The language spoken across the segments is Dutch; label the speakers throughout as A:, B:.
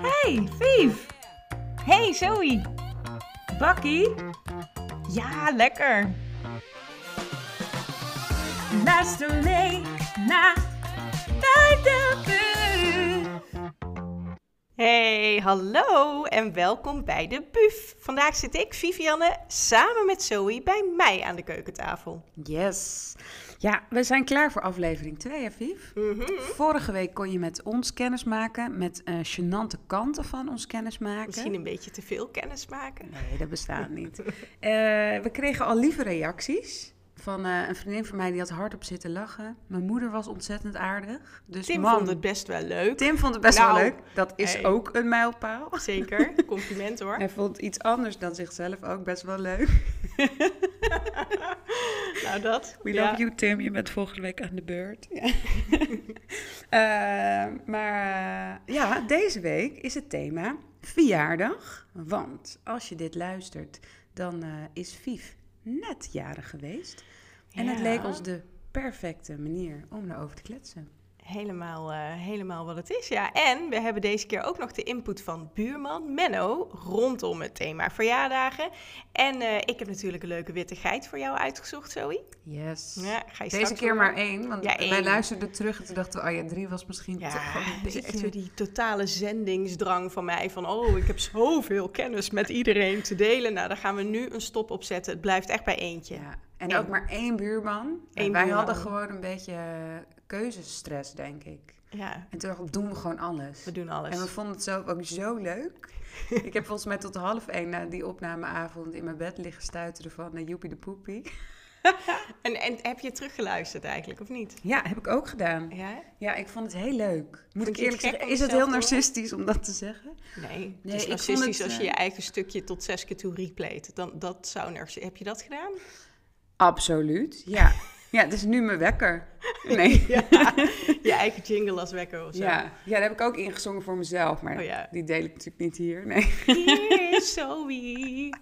A: Hey, Vief. Hey, Zoe. Bakkie. Ja, lekker. Luister mee naar Bij de Buuf.
B: Hey, hallo en welkom bij de Buf. Vandaag zit ik, Vivianne, samen met Zoe bij mij aan de keukentafel.
C: Yes. Ja, we zijn klaar voor aflevering 2, hè, Vief?
B: Mhm.
C: Vorige week kon je met ons kennis maken, met eh gênante kanten van ons kennis maken.
B: Misschien een beetje te veel kennis maken.
C: Nee, dat bestaat niet. Eh, we kregen al lieve reacties. Van eh, een vriendin van mij die had hardop zitten lachen. Mijn moeder was ontzettend aardig. Dus
B: Tim
C: man,
B: vond het best wel leuk.
C: Tim vond het best wel
B: Nou,
C: leuk. Dat is
B: hey.
C: ook een mijlpaal.
B: Zeker, compliment hoor.
C: Hij vond iets anders dan zichzelf ook best wel leuk.
B: Nou dat.
C: We
B: ja.
C: love you, Tim. Je bent volgende week aan de beurt. Ja. Eh, maar eh, ja, deze week is het thema verjaardag. Want als je dit luistert, dan eh, is Vief net jarig geweest. En het
B: Ja.
C: leek ons de perfecte manier om erover te kletsen.
B: Helemaal, eh, helemaal wat het is, ja. En we hebben deze keer ook nog de input van buurman Menno rondom het thema verjaardagen. En eh, ik heb natuurlijk een leuke witte geit voor jou uitgezocht, Zoe.
C: Yes.
B: Ja, ga je
C: Deze
B: straks
C: keer
B: horen.
C: maar één, want
B: Ja,
C: wij
B: één.
C: luisterden terug en toen dachten we, oh ja, drie was misschien toch
B: Ja,
C: wel een
B: dat is echt
C: beetje...
B: weer die totale zendingsdrang van mij. Van, oh, ik heb zoveel kennis met iedereen te delen. Nou, daar gaan we nu een stop op zetten. Het blijft echt bij eentje.
C: Ja. En
B: Eén.
C: ook maar één buurman. En
B: Eén
C: wij
B: buurman.
C: hadden gewoon een beetje eh, keuzestress, denk ik.
B: Ja,
C: En toen dacht ik, doen we gewoon alles.
B: we doen alles.
C: En we vonden het zelf ook zo leuk. ik heb volgens mij tot half één na die opnameavond in mijn bed liggen stuiteren van eh, Joepie de Poepie.
B: En, en heb je teruggeluisterd eigenlijk, of niet?
C: Ja, heb ik ook gedaan.
B: Ja?
C: Ja, ik vond het heel leuk. Moet
B: je
C: ik
B: het
C: eerlijk
B: gek om
C: zeggen, is
B: jezelf
C: het heel
B: te horen?
C: narcistisch om dat te zeggen?
B: Nee, het
C: Nee, ik
B: is
C: vond
B: narcistisch
C: het,
B: als je je
C: eh,
B: eigen stukje tot zes keer toe replayt. Dan, dat zou narci- Heb je dat gedaan?
C: Absoluut, ja. ja, het is nu mijn wekker. Nee.
B: Ja. je eigen jingle als wekker of zo.
C: Ja. ja, daar heb ik ook ingezongen voor mezelf, maar
B: Oh ja.
C: die deel ik natuurlijk niet hier. Nee.
B: Hier is Zoe.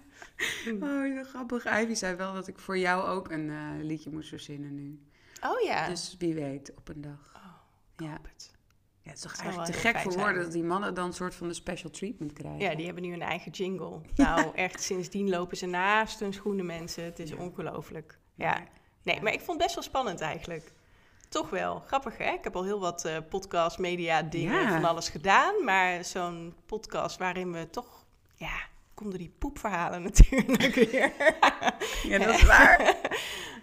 B: Mm.
C: Oh, zo grappig. Ivy zei wel dat ik voor jou ook een eh, liedje moest verzinnen nu.
B: Oh ja.
C: Dus wie weet, op een dag.
B: Oh,
C: ja.
B: het.
C: ja, het is toch
B: zou wel
C: eigenlijk te
B: heel
C: gek
B: fijn
C: voor
B: zijn.
C: woorden dat die mannen dan een soort van de special treatment krijgen.
B: Ja, die hebben nu een eigen jingle. Nou, echt, sindsdien lopen ze naast hun schoenen, mensen. Het is
C: Ja.
B: ongelooflijk. Ja. Nee,
C: Ja.
B: maar ik vond het best wel spannend eigenlijk. Toch wel. Grappig, hè? Ik heb al heel wat eh, podcast, media, dingen,
C: Ja.
B: van alles gedaan. Maar zo'n podcast waarin we toch... Ja, konden die poepverhalen natuurlijk weer.
C: Ja, dat is waar.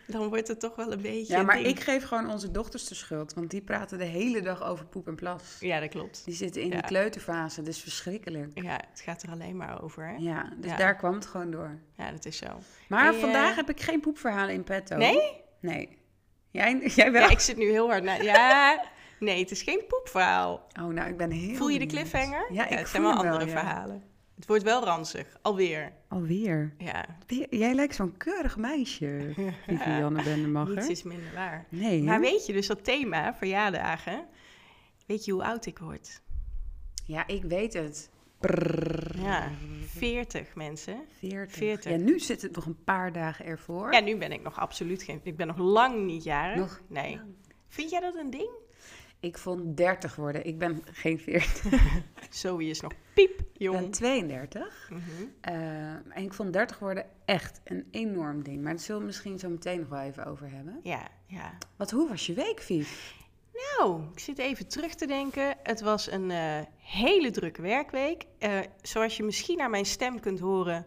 B: Dan wordt het toch wel een beetje...
C: Ja, maar
B: een ding.
C: ik geef gewoon onze dochters de schuld, want die praten de hele dag over poep en plas.
B: Ja, dat klopt.
C: Die zitten in
B: Ja.
C: die kleuterfase, dat is verschrikkelijk.
B: Ja, het gaat er alleen maar over, hè?
C: Ja, dus
B: Ja.
C: daar kwam het gewoon door.
B: Ja, dat is zo.
C: Maar
B: Hey, eh,
C: vandaag heb ik geen poepverhalen in petto.
B: Nee?
C: Nee. Jij, jij wel?
B: Ja, ik zit nu heel hard na... Ja, nee, het is geen poepverhaal.
C: Oh, nou, ik ben heel
B: Voel je de
C: benieuwd.
B: cliffhanger?
C: Ja, ik
B: het
C: voel
B: zijn wel
C: hem
B: andere
C: ja.
B: verhalen. Het wordt wel ranzig, alweer.
C: Alweer.
B: Ja,
C: Weer- Jij lijkt zo'n keurig meisje, Vivianne
B: niets
C: Bendemacher.
B: is minder waar.
C: Nee, hè?
B: Maar weet je, dus dat thema, verjaardagen, weet je hoe oud ik word?
C: Ja, ik weet het.
B: Ja, 40 mensen.
C: 40.
B: 40.
C: Ja, nu zit het nog een paar dagen ervoor.
B: Ja, nu ben ik nog absoluut geen, ik ben nog lang niet jarig.
C: Nog
B: nee. Vind jij dat een ding?
C: Ik vond 30 worden. Ik ben geen 40.
B: Zoe is nog piep,
C: Ik
B: jong.
C: ben 32.
B: Mhm.
C: Eh, en ik vond 30 worden echt een enorm ding. Maar daar zullen we misschien zo meteen nog wel even over hebben.
B: Ja, ja.
C: Want hoe was je week, Vief?
B: Nou, ik zit even terug te denken. Het was een eh, hele drukke werkweek. Eh, zoals je misschien aan mijn stem kunt horen,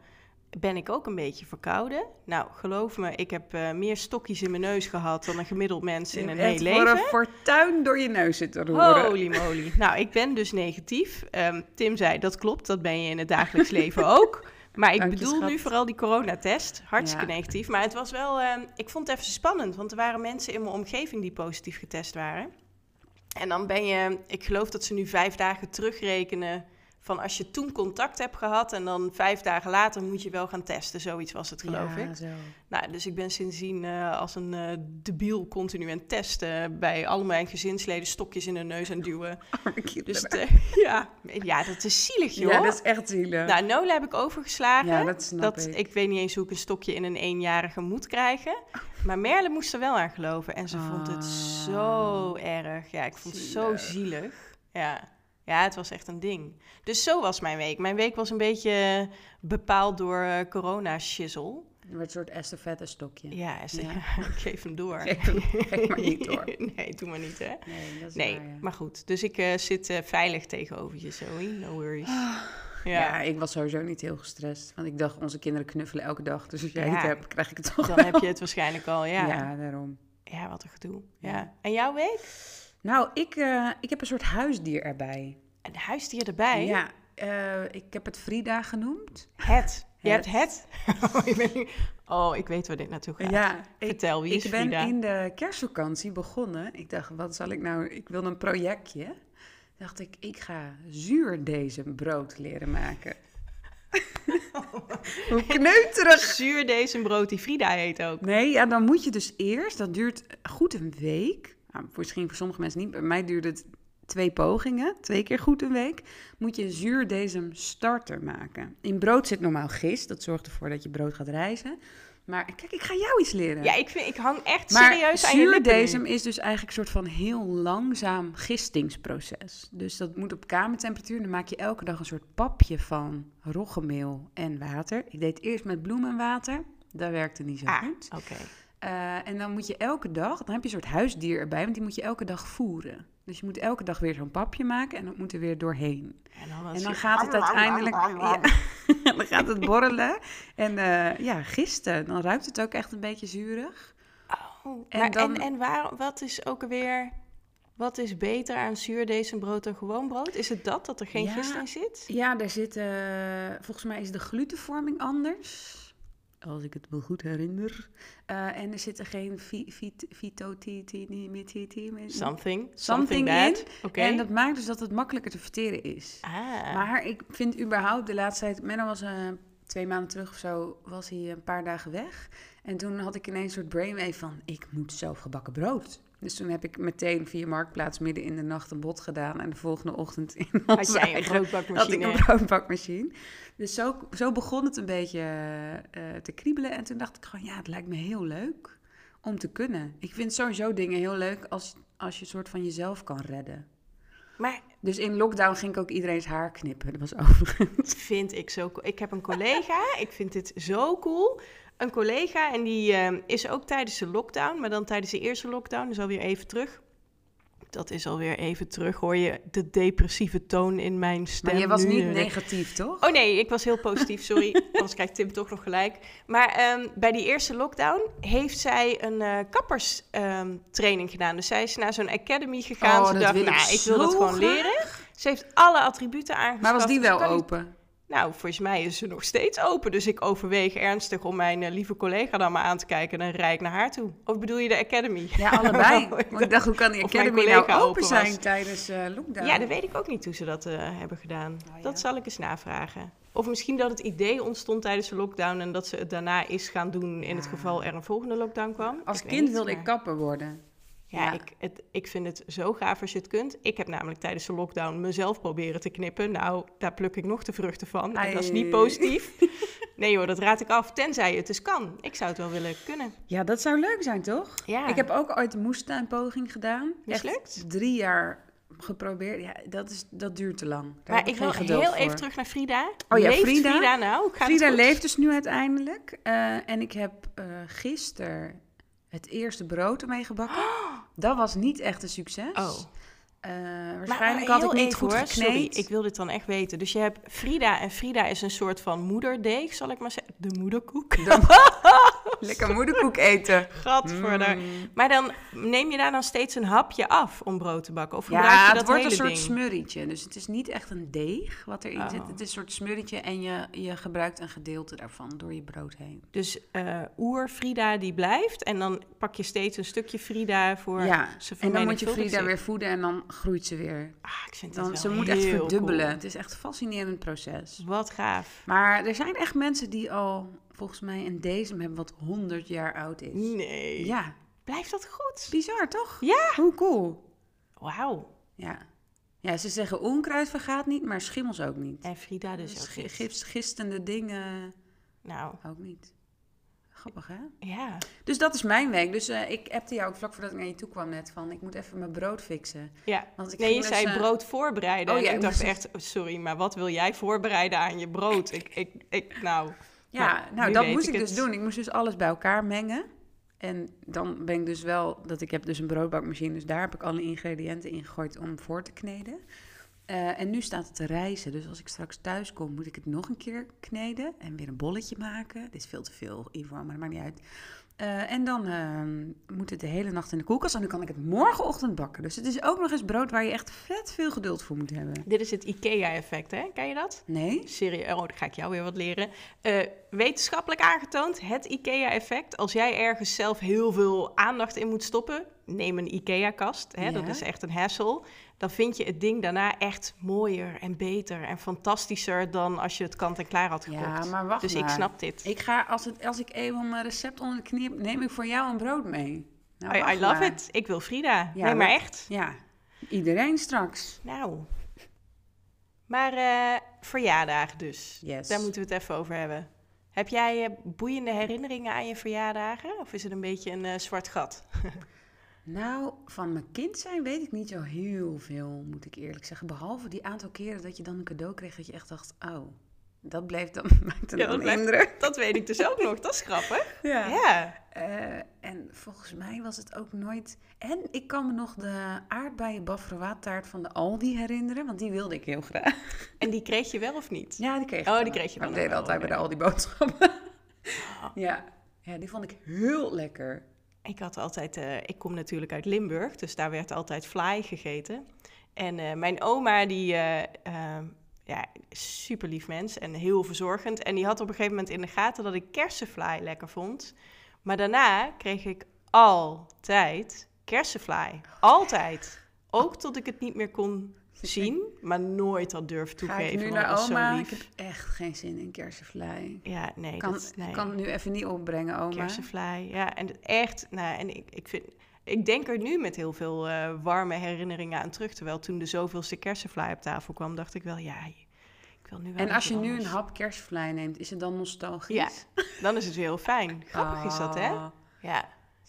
B: ben ik ook een beetje verkouden. Nou, geloof me, ik heb eh, meer stokjes in mijn neus gehad dan een gemiddeld mens in een heel
C: echt voor
B: leven.
C: een fortuin door je neus zitten roeren.
B: Holy moly. Nou, ik ben dus negatief. Ehm, Tim zei, dat klopt, dat ben je in het dagelijks leven ook. Maar ik
C: Dank je,
B: bedoel nu
C: schat.
B: vooral die coronatest. Hartstikke
C: Ja.
B: negatief. Maar het was wel, ehm, ik vond het even spannend. Want er waren mensen in mijn omgeving die positief getest waren. En dan ben je, ik geloof dat ze nu vijf dagen terugrekenen. Van als je toen contact hebt gehad en dan vijf dagen later moet je wel gaan testen. Zoiets was het, geloof ik.
C: ja, Zo.
B: Nou, dus ik ben sindsdien eh, als een eh, debiel continu aan het testen. eh, Bij al mijn gezinsleden stokjes in de neus aan duwen.
C: Arme kinderen.
B: Dus het, eh, ja. ja, dat is zielig, joh.
C: ja, dat is echt zielig.
B: Nou, Nola heb ik overgeslagen.
C: ja, dat snap
B: dat,
C: ik.
B: ik weet niet eens hoe ik een stokje in een eenjarige moet krijgen. Maar Merle moest er wel aan geloven. En ze vond het
C: Ah.
B: zo erg. Ja, ik vond het zo
C: Zielig.
B: zielig. Ja, Ja, het was echt een ding. Dus zo was mijn week. Mijn week was een beetje bepaald door eh, corona-shizzle.
C: Je wordt een soort estafette stokje.
B: Ja, Esther,
C: Ja.
B: ik geef hem door.
C: Geef hem- geef maar niet door.
B: nee, doe maar niet, hè?
C: Nee, dat is
B: Nee,
C: waar, ja.
B: maar goed. Dus ik eh, zit eh, veilig tegenover je, Zoe. No worries.
C: Ah, Ja,
B: Ja,
C: ik was sowieso niet heel gestrest. Want ik dacht, onze kinderen knuffelen elke dag. Dus als jij
B: Ja.
C: het hebt, krijg ik het toch
B: dan
C: wel.
B: heb je het waarschijnlijk al, ja.
C: ja.
B: Ja,
C: daarom.
B: wat een gedoe. Ja.
C: Ja.
B: En jouw week?
C: Nou, ik, eh, ik heb een soort huisdier erbij.
B: Een huisdier erbij?
C: Ja, eh, ik heb het Frida genoemd.
B: Het. Je
C: Het.
B: hebt het? Oh ik, ben nu- oh, ik weet waar dit naartoe gaat.
C: ik,
B: Vertel, wie is
C: ik ben
B: Frida?
C: in de kerstvakantie begonnen. Ik dacht, wat zal ik nou... Ik wilde een projectje. Dacht ik, ik ga zuurdezenbrood leren maken. Hoe kneuterig
B: Zuurdees en brood, die Frida heet ook.
C: Nee, ja, dan moet je dus eerst, dat duurt goed een week. Nou, misschien voor sommige mensen niet, bij mij duurde het twee pogingen, twee keer goed een week. Moet je een zuurdesem starter maken. In brood zit normaal gist, dat zorgt ervoor dat je brood gaat rijzen. Maar kijk, ik ga jou iets leren.
B: Ja, ik, vind, ik hang echt
C: maar
B: serieus aan je lippen nu.
C: zuurdesem is dus eigenlijk een soort van heel langzaam gistingsproces. Dus dat moet op kamertemperatuur. Dan maak je elke dag een soort papje van roggemeel en water. Ik deed het eerst met bloem en water. Dat werkte niet zo
B: Ah,
C: goed.
B: oké.
C: Eh, en dan moet je elke dag, dan heb je een soort huisdier erbij, want die moet je elke dag voeren. Dus je moet elke dag weer zo'n papje maken en dat moet er weer doorheen.
B: En dan,
C: En dan gaat het uiteindelijk. Ja, dan gaat het borrelen. En eh, ja, gisten. Dan ruikt het ook echt een beetje zuurig.
B: Oh,
C: En
B: maar
C: dan-
B: en, en waar, wat is ook weer... Wat is beter aan zuurdees en brood dan gewoon brood? Is het dat, dat er geen
C: Ja.
B: gist in zit?
C: Ja, daar zit. eh, volgens mij is de glutenvorming anders. Als ik het me goed herinner. Eh, en er zitten geen fytotitinimititimi.
B: Something.
C: Something
B: bad.
C: in.
B: Oké.
C: En dat maakt dus dat het makkelijker te verteren is.
B: Ah,
C: Maar ik vind überhaupt de laatste tijd... Menno was eh, twee maanden terug of zo, was hij een paar dagen weg. En toen had ik ineens een soort brainwave van... ik moet zelf gebakken brood. Dus toen heb ik meteen via Marktplaats midden in de nacht een bod gedaan... en de volgende ochtend in
B: had
C: onze
B: jij een
C: eigen... Had ik
B: broodbakmachine?
C: een broodbakmachine. Dus zo, zo begon het een beetje eh, te kriebelen. En toen dacht ik gewoon, ja, het lijkt me heel leuk om te kunnen. Ik vind sowieso dingen heel leuk als, als je een soort van jezelf kan redden.
B: Maar
C: Dus in lockdown ging ik ook iedereen's haar knippen. Dat was overigens.
B: dat vind ik zo cool. Ik heb een collega, ik vind dit zo cool. Een collega en die eh, is ook tijdens de lockdown, maar dan tijdens de eerste lockdown, dus alweer even terug. Dat is alweer even terug, hoor je de depressieve toon in mijn stem.
C: Maar je was
B: nu.
C: niet negatief, toch?
B: Oh nee, ik was heel positief, sorry. Anders krijgt Tim toch nog gelijk. Maar ehm, bij die eerste lockdown heeft zij een eh, kapperstraining gedaan. Dus zij is naar zo'n academy gegaan.
C: Oh,
B: Ze
C: dat
B: dacht,
C: wil ik
B: nou, ik wil
C: zo
B: dat gewoon
C: graag."
B: leren. Ze heeft alle attributen aangeschaft.
C: maar was die
B: dus
C: wel
B: kan niet-
C: open?
B: Nou, volgens mij is ze nog steeds open. Dus ik overweeg ernstig om mijn eh, lieve collega dan maar aan te kijken. En dan rijd ik naar haar toe. Of bedoel je de academy?
C: Ja, allebei.
B: Oh, ik
C: Nou, Want ik dacht, hoe kan die
B: of mijn
C: Academy nou
B: collega
C: open,
B: open
C: zijn
B: was.
C: tijdens eh, lockdown?
B: Ja, dat weet ik ook niet hoe ze dat eh, hebben gedaan.
C: Oh, ja.
B: Dat zal ik eens navragen. Of misschien dat het idee ontstond tijdens de lockdown en dat ze het daarna is gaan doen in het
C: Ja.
B: geval er een volgende lockdown kwam.
C: Als
B: Ik weet
C: kind
B: niet,
C: wilde ik
B: maar-
C: kapper worden.
B: Ja,
C: ja.
B: Ik, het, ik vind het zo gaaf als je het kunt. Ik heb namelijk tijdens de lockdown mezelf proberen te knippen. Nou, daar pluk ik nog de vruchten van. En dat is niet
C: Ai.
B: positief. Nee hoor, dat raad ik af. Tenzij het dus kan. Ik zou het wel willen kunnen.
C: Ja, dat zou leuk zijn, toch?
B: Ja.
C: Ik heb ook ooit een moestuinpoging gedaan. Echt
B: Mislukt?
C: drie jaar geprobeerd. Ja, dat, is, dat duurt te lang. Daar heb
B: Maar ik wil
C: geen geduld
B: heel even
C: voor.
B: terug naar Frida.
C: Oh ja,
B: Leeft
C: Frida.
B: nou? Gaat het
C: Frida
B: goed?
C: leeft dus nu uiteindelijk. eh, en ik heb eh gisteren het eerste brood ermee gebakken. Dat was niet echt een succes.
B: Oh.
C: Eh,
B: Maar
C: waarschijnlijk
B: heel
C: had ik niet
B: even,
C: goed
B: hoor. Sorry,
C: gekneed.
B: ik wil dit dan echt weten. Dus je hebt Frida en Frida is een soort van moederdeeg, zal ik maar zeggen. De moederkoek.
C: Lekker moederkoek eten.
B: Gadverder.
C: Mm.
B: Maar dan neem je daar dan steeds een hapje af om brood te bakken? Of gebruik je
C: Ja,
B: dat
C: het wordt een
B: hele
C: soort
B: ding?
C: smurrietje. Dus het is niet echt een deeg wat erin
B: Oh.
C: zit. Het is een soort smurrietje en je, je gebruikt een gedeelte daarvan door je brood heen.
B: Dus eh, oer Frida die blijft en dan pak je steeds een stukje Frida voor
C: ja,
B: ze
C: en dan moet je
B: vermenigvuldigt
C: Frida
B: zich.
C: weer voeden en dan groeit ze weer.
B: Ah, ik vind dit
C: Dan,
B: wel
C: ze moet
B: heel
C: echt verdubbelen.
B: cool.
C: Het is echt een fascinerend proces.
B: Wat gaaf.
C: Maar er zijn echt mensen die al volgens mij een dezem hebben wat 100 jaar oud is.
B: Nee.
C: Ja,
B: Blijft dat goed?
C: bizar toch?
B: Ja.
C: Hoe cool.
B: Wauw.
C: Ja. Ja, ze zeggen onkruid vergaat niet, maar schimmels ook niet.
B: En Frida dus ook
C: Sch-
B: niet.
C: gif- gistende dingen
B: Nou,
C: ook niet. Grappig, hè?
B: Ja.
C: Dus dat is mijn week. Dus eh, ik appte jou ook vlak voordat ik naar je toe kwam net van... ik moet even mijn brood fixen.
B: ja.
C: Want ik
B: Nee,
C: ging
B: je
C: dus,
B: zei
C: eh,
B: brood voorbereiden.
C: oh
B: en
C: ja,
B: ik
C: ik
B: dacht
C: moest-
B: echt, oh, sorry, maar wat wil jij voorbereiden aan je brood? Ik, ik, ik, nou,
C: Ja,
B: nu
C: nou, dat
B: weet
C: moest
B: ik
C: ik dus
B: het.
C: doen. Ik moest dus alles bij elkaar mengen. En dan ben ik dus wel... dat Ik heb dus een broodbakmachine, dus daar heb ik alle ingrediënten in gegooid om voor te kneden. Eh, en nu staat het te rijzen. Dus als ik straks thuis kom, moet ik het nog een keer kneden. En weer een bolletje maken. Dit is veel te veel, Ivo, maar dat maakt niet uit. Eh, en dan eh, moet het de hele nacht in de koelkast. En dan kan ik het morgenochtend bakken. Dus het is ook nog eens brood waar je echt vet veel geduld voor moet hebben.
B: dit is het IKEA-effect, hè? Ken je dat?
C: Nee?
B: Serieus, oh, dan ga ik jou weer wat leren. Eh, wetenschappelijk aangetoond, het IKEA-effect. Als jij ergens zelf heel veel aandacht in moet stoppen, neem een IKEA-kast. Hè,
C: Ja.
B: Dat is echt een hassle. Dan vind je het ding daarna echt mooier en beter en fantastischer dan als je het kant-en-klaar had gekocht.
C: Ja, maar wacht
B: dus ik
C: maar.
B: snap dit.
C: Ik ga, als, het, als ik even mijn recept onder de knie heb, neem ik voor jou een brood mee. Nou,
B: I, I
C: wacht
B: love
C: maar.
B: it. Ik wil Frida.
C: Ja,
B: nee, maar
C: dat-
B: echt.
C: Ja, iedereen straks.
B: Nou. Maar eh verjaardagen dus.
C: Yes.
B: Daar moeten we het even over hebben. Heb jij eh, boeiende herinneringen aan je verjaardagen? Of is het een beetje een eh, zwart gat?
C: Nou, van mijn kind zijn weet ik niet zo heel veel, moet ik eerlijk zeggen. Behalve die aantal keren dat je dan een cadeau kreeg dat je echt dacht, oh, dat bleef dan,
B: Ja,
C: maakte dan
B: dat
C: een
B: blijft-
C: indruk.
B: Dat weet ik dus ook nog. Dat is grappig. Ja.
C: Eh, en volgens mij was het ook nooit... En ik kan me nog de aardbeien taart van de Aldi herinneren, want die wilde ik heel graag.
B: En die kreeg je wel of niet?
C: Ja, die kreeg ik
B: Oh,
C: dan
B: die
C: wel.
B: kreeg je
C: Maar
B: dan
C: we deden
B: ook wel, oh, Ah.
C: altijd bij de al die boodschappen. ja. ja, die vond ik heel lekker.
B: Ik had altijd, eh, ik kom natuurlijk uit Limburg, dus daar werd altijd fly gegeten. En eh, mijn oma, die, eh, eh, ja, super lief mens en heel verzorgend. En die had op een gegeven moment in de gaten dat ik kersenfly lekker vond. Maar daarna kreeg ik altijd kersenfly. Altijd. Ook tot ik het niet meer kon zien, maar nooit had durven
C: Ga ik
B: toegeven.
C: nu
B: want dat
C: naar
B: was zo
C: oma? Ik
B: lief.
C: heb echt geen zin in kersenvlei.
B: Ja, nee,
C: Ik kan,
B: dat, nee.
C: ik kan het nu even niet opbrengen, oma.
B: Kersenvlaai, ja. En het echt, nou, en ik, ik vind... Ik denk er nu met heel veel eh, warme herinneringen aan terug. Terwijl toen de zoveelste kersenvlaai op tafel kwam, dacht ik wel, ja, ik wil nu wel
C: En
B: wat
C: als je nu een
B: anders.
C: hap kersenvlei neemt, is het dan nostalgisch?
B: Ja, dan is het heel fijn. Grappig is dat, hè?
C: Ah,
B: Ja.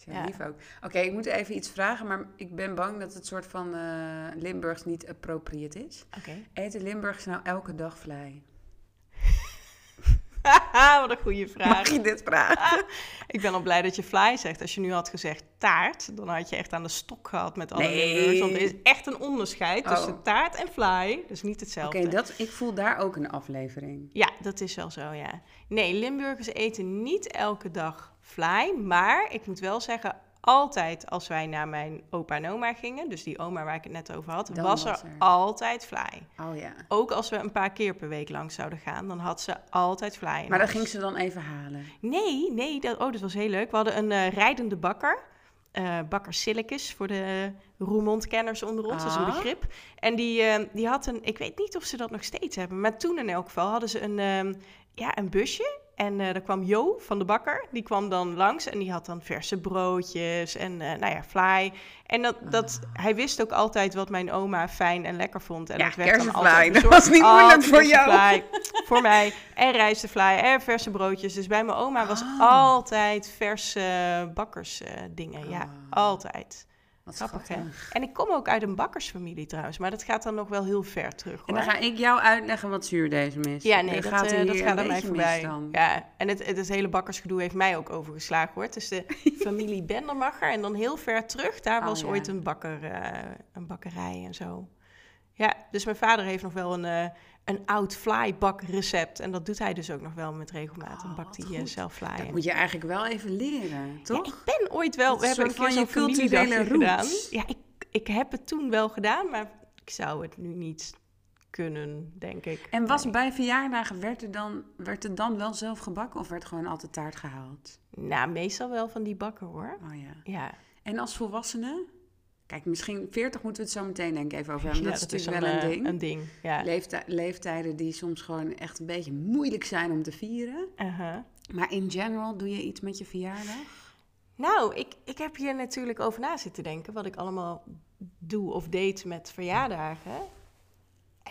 C: Zo
B: Ja.
C: lief ook. Oké, ik moet even iets vragen, maar ik ben bang dat het soort van eh, Limburgs niet appropriate is.
B: Oké.
C: Eten Limburgs nou elke dag vlei?
B: Haha, wat een goede vraag.
C: Mag je dit vragen?
B: Ik ben al blij dat je fly zegt. Als je nu had gezegd taart, dan had je echt aan de stok gehad met alle
C: Nee.
B: Limburgers, Want er is echt een onderscheid
C: Oh.
B: tussen taart en fly. Dus niet hetzelfde.
C: Oké, dat ik voel daar ook een aflevering.
B: Ja, dat is wel zo, ja. Nee, Limburgers eten niet elke dag vlaai. Maar ik moet wel zeggen, altijd als wij naar mijn opa en oma gingen... dus die oma waar ik het net over had,
C: Dan
B: was,
C: was
B: er,
C: er.
B: altijd vlaai.
C: Oh ja.
B: Ook als we een paar keer per week langs zouden gaan, dan had ze altijd vlaai. in
C: Maar dat
B: huis.
C: ging ze dan even halen.
B: Nee, nee, dat, oh, dat was heel leuk. We hadden een eh, rijdende bakker. eh bakker Sillicus voor de Roermond-kenners onder ons, dat is een
C: Ah.
B: begrip. En die, eh, die had een, ik weet niet of ze dat nog steeds hebben, maar toen in elk geval hadden ze een, ehm, ja, een busje. En eh daar kwam Jo van de bakker, die kwam dan langs en die had dan verse broodjes en eh, nou ja, fly. En dat,
C: Ah.
B: dat, hij wist ook altijd wat mijn oma fijn en lekker vond. En
C: Ja,
B: dat werd dan
C: kersenfly,
B: altijd
C: dat
B: bezorgd.
C: was niet moeilijk
B: Altijd
C: voor jou.
B: kersenfly voor mij. En rijstefly en verse broodjes. Dus bij mijn oma was
C: Ah.
B: altijd verse bakkersdingen. Ja,
C: Ah.
B: altijd.
C: Wat
B: Grappig, hè?
C: schattig.
B: En ik kom ook uit een bakkersfamilie trouwens. Maar dat gaat dan nog wel heel ver terug,
C: En
B: hoor.
C: dan ga ik jou uitleggen wat zuurdesem is.
B: Ja, nee,
C: Dan
B: dat
C: gaat
B: gaat,
C: hij
B: dat
C: hier
B: gaat
C: een
B: aan mij
C: beetje
B: voorbij.
C: mis dan.
B: Ja, en het, het, het hele bakkersgedoe heeft mij ook overgeslagen, hoor. Dus de familie Bendermacher en dan heel ver terug. Daar
C: Oh,
B: was
C: ja.
B: ooit een, bakker, eh, een bakkerij en zo. Ja, dus mijn vader heeft nog wel een, eh, een oud flybak recept. En dat doet hij dus ook nog wel met regelmaat. Dan
C: Oh,
B: bakt
C: wat
B: hij eh,
C: goed.
B: zelf fly.
C: Dat
B: in.
C: moet je eigenlijk wel even leren,
B: Ja,
C: toch?
B: ik ben ooit wel...
C: Dat
B: We
C: is
B: hebben
C: een
B: een keer
C: soort
B: zo'n
C: van je culturele
B: familiedagje gedaan.
C: roots.
B: Ja, ik, ik heb het toen wel gedaan, maar ik zou het nu niet kunnen, denk ik.
C: En was
B: Nee.
C: bij verjaardagen, werd er, dan, werd er dan wel zelf gebakken of werd gewoon altijd taart gehaald?
B: Nou, meestal wel van die bakker, hoor.
C: Oh ja.
B: Ja,
C: En als volwassene? Kijk, misschien 40 moeten we het zo meteen denk ik even over
B: dus ja,
C: hebben. dat, is natuurlijk
B: een,
C: wel een
B: eh,
C: ding.
B: Een ding, ja.
C: Leefti- leeftijden die soms gewoon echt een beetje moeilijk zijn om te vieren.
B: Aha.
C: Maar in general doe je iets met je verjaardag?
B: Nou, ik, ik heb hier natuurlijk over na zitten denken wat ik allemaal doe of deed met verjaardagen.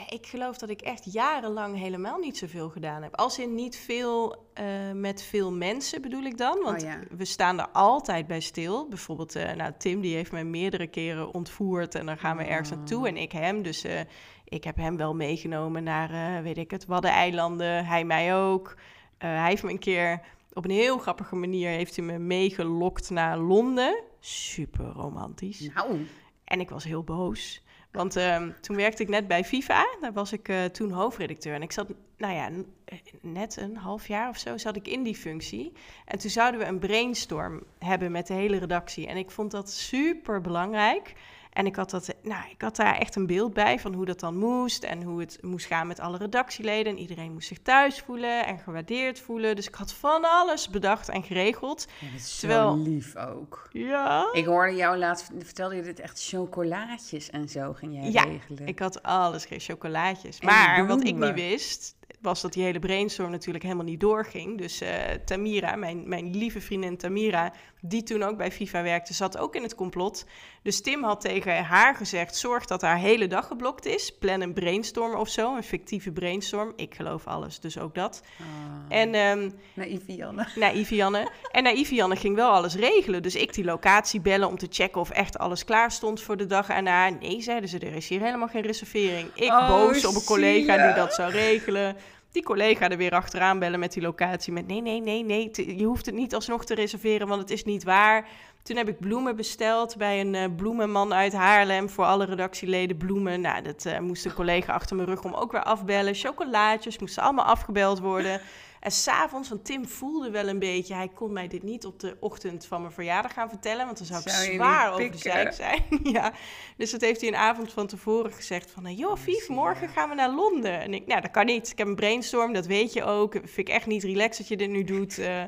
B: Ik geloof dat ik echt jarenlang helemaal niet zoveel gedaan heb. Als in niet veel eh, met veel mensen bedoel ik dan. Want
C: Oh, ja.
B: we staan er altijd bij stil. Bijvoorbeeld, eh, nou, Tim die heeft mij meerdere keren ontvoerd. En dan gaan we
C: Oh.
B: ergens naartoe. En ik hem. Dus eh, ik heb hem wel meegenomen naar, eh, weet ik het, Waddeneilanden. Hij mij ook. Eh, hij heeft me een keer op een heel grappige manier heeft hij me meegelokt naar Londen. Super romantisch.
C: Nou,
B: En ik was heel boos. Want ehm, toen werkte ik net bij FIFA. Daar was ik eh, toen hoofdredacteur. En ik zat, nou ja, n- eh, net een half jaar of zo zat ik in die functie. En toen zouden we een brainstorm hebben met de hele redactie. En ik vond dat super belangrijk. En ik had, dat, nou, ik had daar echt een beeld bij van hoe dat dan moest. En hoe het moest gaan met alle redactieleden. En iedereen moest zich thuis voelen en gewaardeerd voelen. Dus ik had van alles bedacht en geregeld.
C: dat is
B: Terwijl-
C: zo lief ook.
B: Ja.
C: Ik hoorde jou laatst, vertelde je dit echt chocolaatjes en zo ging jij
B: Ja,
C: regelen.
B: Ik had alles, geen chocolaatjes.
C: En
B: Maar wat ik
C: bloemen.
B: niet wist, was dat die hele brainstorm natuurlijk helemaal niet doorging. Dus eh, Tamira, mijn, mijn lieve vriendin Tamira, die toen ook bij FIFA werkte, zat ook in het complot. Dus Tim had tegen haar gezegd, zorg dat haar hele dag geblokt is. Plan een brainstorm of zo, een fictieve brainstorm. Ik geloof alles, dus ook dat.
C: Ah,
B: En ehm,
C: Naïeve Janne.
B: Naïve Janne. En Naïve Janne ging wel alles regelen. Dus ik die locatie bellen om te checken of echt alles klaar stond voor de dag erna. Nee, zeiden ze, er is hier helemaal geen reservering. Ik
C: Oh,
B: boos op een collega
C: zie je.
B: die dat zou regelen. Die collega er weer achteraan bellen met die locatie. Met nee, nee, nee, nee, t- je hoeft het niet alsnog te reserveren, want het is niet waar. Toen heb ik bloemen besteld bij een eh, bloemenman uit Haarlem. Voor alle redactieleden bloemen. Nou, dat eh, moest een collega achter mijn rug om ook weer afbellen. Chocolaatjes moesten allemaal afgebeld worden. En s'avonds, want Tim voelde wel een beetje... hij kon mij dit niet op de ochtend van mijn verjaardag gaan vertellen... want dan zou ik
C: Zou je niet
B: zwaar over de
C: pikken?
B: zijk zijn. ja. Dus dat heeft hij een avond van tevoren gezegd van... eh,
C: Oh,
B: joh, Vief, morgen gaan we naar Londen. En ik, nou, dat kan niet. Ik heb een brainstorm, dat weet je ook. Vind ik echt niet relaxed dat je dit nu doet. Eh,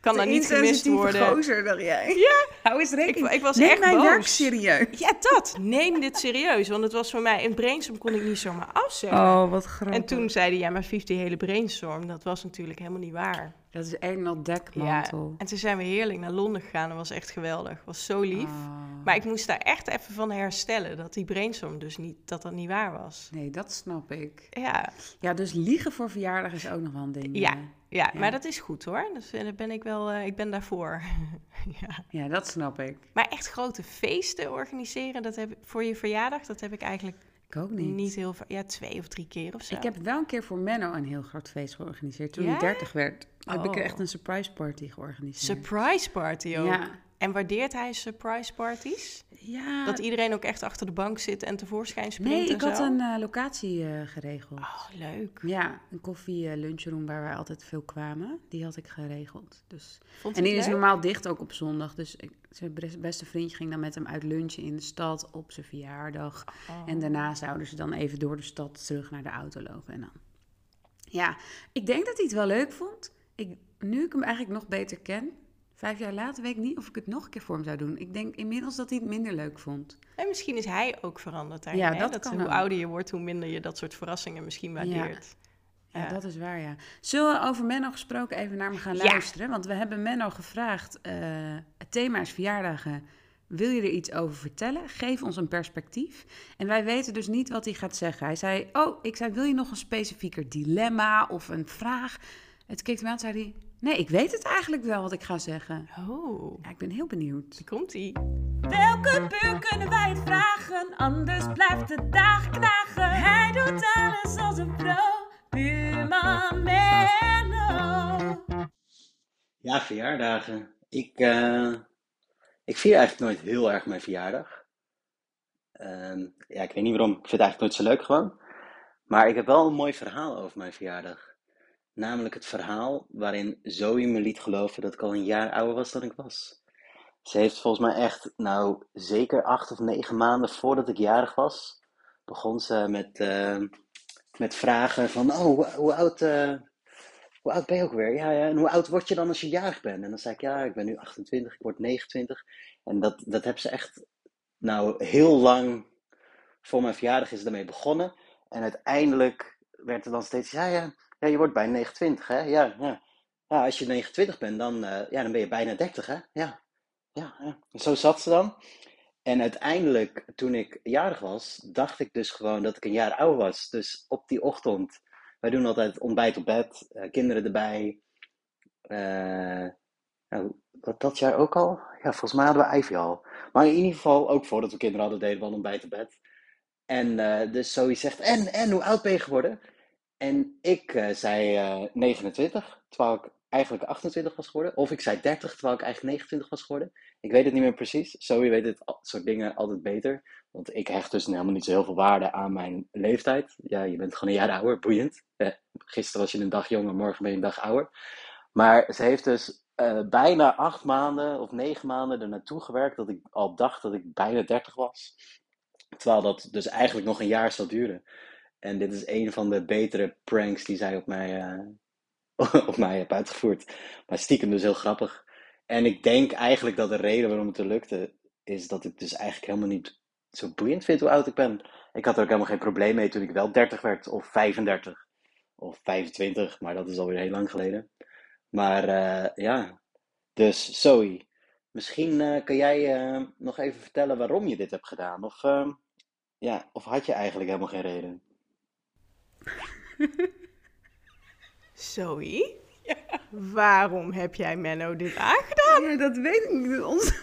B: kan
C: De
B: daar niet gemist
C: insensitieve
B: worden.
C: gozer, dacht jij. Ja. Hou eens
B: Ik,
C: rekening.
B: ik was
C: Neem
B: echt
C: mijn
B: boos.
C: werk serieus.
B: Ja, dat. Neem dit serieus. Want het was voor mij, een brainstorm kon ik niet zomaar afzeggen.
C: Oh, wat grappig.
B: En toen zeiden, ja, maar Vief, die hele brainstorm, dat was natuurlijk helemaal niet waar.
C: Dat is een en al
B: Ja.
C: dekmantel.
B: En toen zijn we heerlijk naar Londen gegaan. Dat was echt geweldig. Was zo lief.
C: Ah.
B: Maar ik moest daar echt even van herstellen dat die brainstorm dus niet, dat dat niet waar was.
C: Nee, dat snap ik.
B: Ja,
C: Ja, dus liegen voor verjaardag is ook nog wel een ding.
B: ja,
C: hè?
B: ja, maar dat is goed hoor. Dus, eh, daar ben ik wel, eh, ik ben daarvoor. ja.
C: Ja, dat snap ik.
B: Maar echt grote feesten organiseren dat heb, ik- voor je verjaardag, dat heb ik eigenlijk
C: Ik ook
B: niet,
C: niet.
B: heel vaak. Ja, twee of drie keer of zo.
C: Ik heb wel een keer voor Menno een heel groot feest georganiseerd. Toen
B: Ja?
C: hij 30 werd, heb ik
B: Oh.
C: echt een surprise party georganiseerd.
B: Surprise party ook.
C: Ja.
B: En waardeert hij surprise parties?
C: ja.
B: Dat iedereen ook echt achter de bank zit en tevoorschijn springt
C: Nou, nee,
B: en
C: ik had
B: zo?
C: een eh, locatie eh, geregeld.
B: Oh, leuk.
C: Ja, een koffie eh, lunchroom waar wij altijd veel kwamen. Die had ik geregeld. Dus...
B: Vond
C: En
B: hij
C: die is
B: het leuk?
C: normaal dicht ook op zondag. Dus ik, zijn bres- beste vriendje ging dan met hem uit lunchen in de stad op zijn verjaardag.
B: Oh.
C: En daarna zouden ze dan even door de stad terug naar de auto lopen. En dan. Ja, ik denk dat hij het wel leuk vond. Ik, nu ik hem eigenlijk nog beter ken, vijf jaar later, weet ik niet of ik het nog een keer voor hem zou doen. Ik denk inmiddels dat hij het minder leuk vond.
B: En misschien is hij ook veranderd daarin.
C: Ja,
B: hè?
C: dat kan
B: hoe
C: ook.
B: ouder je wordt, hoe minder je dat soort verrassingen misschien waardeert.
C: Ja,
B: Ja.
C: dat is waar, ja. Zullen we over Menno gesproken even naar me gaan
B: Ja.
C: luisteren? Want we hebben Menno gevraagd, eh, het thema is verjaardagen. Wil je er iets over vertellen? Geef ons een perspectief. En wij weten dus niet wat hij gaat zeggen. Hij zei, oh, ik zei, wil je nog een specifieker dilemma of een vraag? Het keek me aan, zei hij, nee, ik weet het eigenlijk wel wat ik ga zeggen.
B: Oh,
C: Ja, ik ben heel benieuwd.
B: daar komt hij.
A: Welke buur kunnen wij het vragen? Anders blijft de dag knagen. Hij doet alles als een pro. Buurman Menno.
D: Ja, verjaardagen. Ik, eh, ik vier eigenlijk nooit heel erg mijn verjaardag. Ehm, ja, ik weet niet waarom. Ik vind het eigenlijk nooit zo leuk gewoon. Maar ik heb wel een mooi verhaal over mijn verjaardag. Namelijk het verhaal waarin Zoe me liet geloven dat ik al een jaar ouder was dan ik was. Ze heeft volgens mij echt, nou, zeker acht of negen maanden voordat ik jarig was, begon ze met, ehm, met vragen van, oh, hoe, hoe oud... eh, hoe oud ben je ook weer? Ja, ja, en hoe oud word je dan als je jarig bent? En dan zei ik, ja, ik ben nu 28, ik word 29. En dat, dat heb ze echt, nou, heel lang voor mijn verjaardag is ze daarmee begonnen. En uiteindelijk werd er dan steeds, ja, ja, ja je wordt bijna 29, hè? Ja, ja. Ja, als je 29 bent, dan, eh, ja, dan ben je bijna 30, hè? Ja, ja, ja. En zo zat ze dan. En uiteindelijk, toen ik jarig was, dacht ik dus gewoon dat ik een jaar oud was. Dus op die ochtend, wij doen altijd ontbijt op bed, eh, kinderen erbij. Eh, nou, wat dat jaar ook al? Ja, volgens mij hadden we Ivy al. Maar in ieder geval, ook voordat we kinderen hadden, deden we al ontbijt op bed. En eh, dus zoiets zegt, en, en, hoe oud ben je geworden? En ik eh, zei eh, 29, terwijl ik eigenlijk 28 was geworden. Of ik zei 30, terwijl ik eigenlijk 29 was geworden. Ik weet het niet meer precies. Zoe weet dit al- soort dingen altijd beter. Want ik hecht dus helemaal niet zo heel veel waarde aan mijn leeftijd. Ja, je bent gewoon een jaar ouder, boeiend. Eh, gisteren was je een dag jonger, morgen ben je een dag ouder. Maar ze heeft dus eh, bijna acht maanden of negen maanden er naartoe gewerkt dat ik al dacht dat ik bijna dertig was. Terwijl dat dus eigenlijk nog een jaar zou duren. En dit is een van de betere pranks die zij op mij, eh, op mij heeft uitgevoerd. Maar stiekem dus heel grappig. En ik denk eigenlijk dat de reden waarom het er lukte, is dat ik dus eigenlijk helemaal niet zo boeiend vind hoe oud ik ben. Ik had er ook helemaal geen probleem mee toen ik wel 30 werd, of 35, of 25, maar dat is alweer heel lang geleden. Maar eh, ja, dus Zoe, misschien eh, kan jij eh, nog even vertellen waarom je dit hebt gedaan? Of, eh, ja, of had je eigenlijk helemaal geen reden?
B: Zoe, waarom heb jij Menno dit aangedaan?
C: Ja, dat weet ik niet. Ons-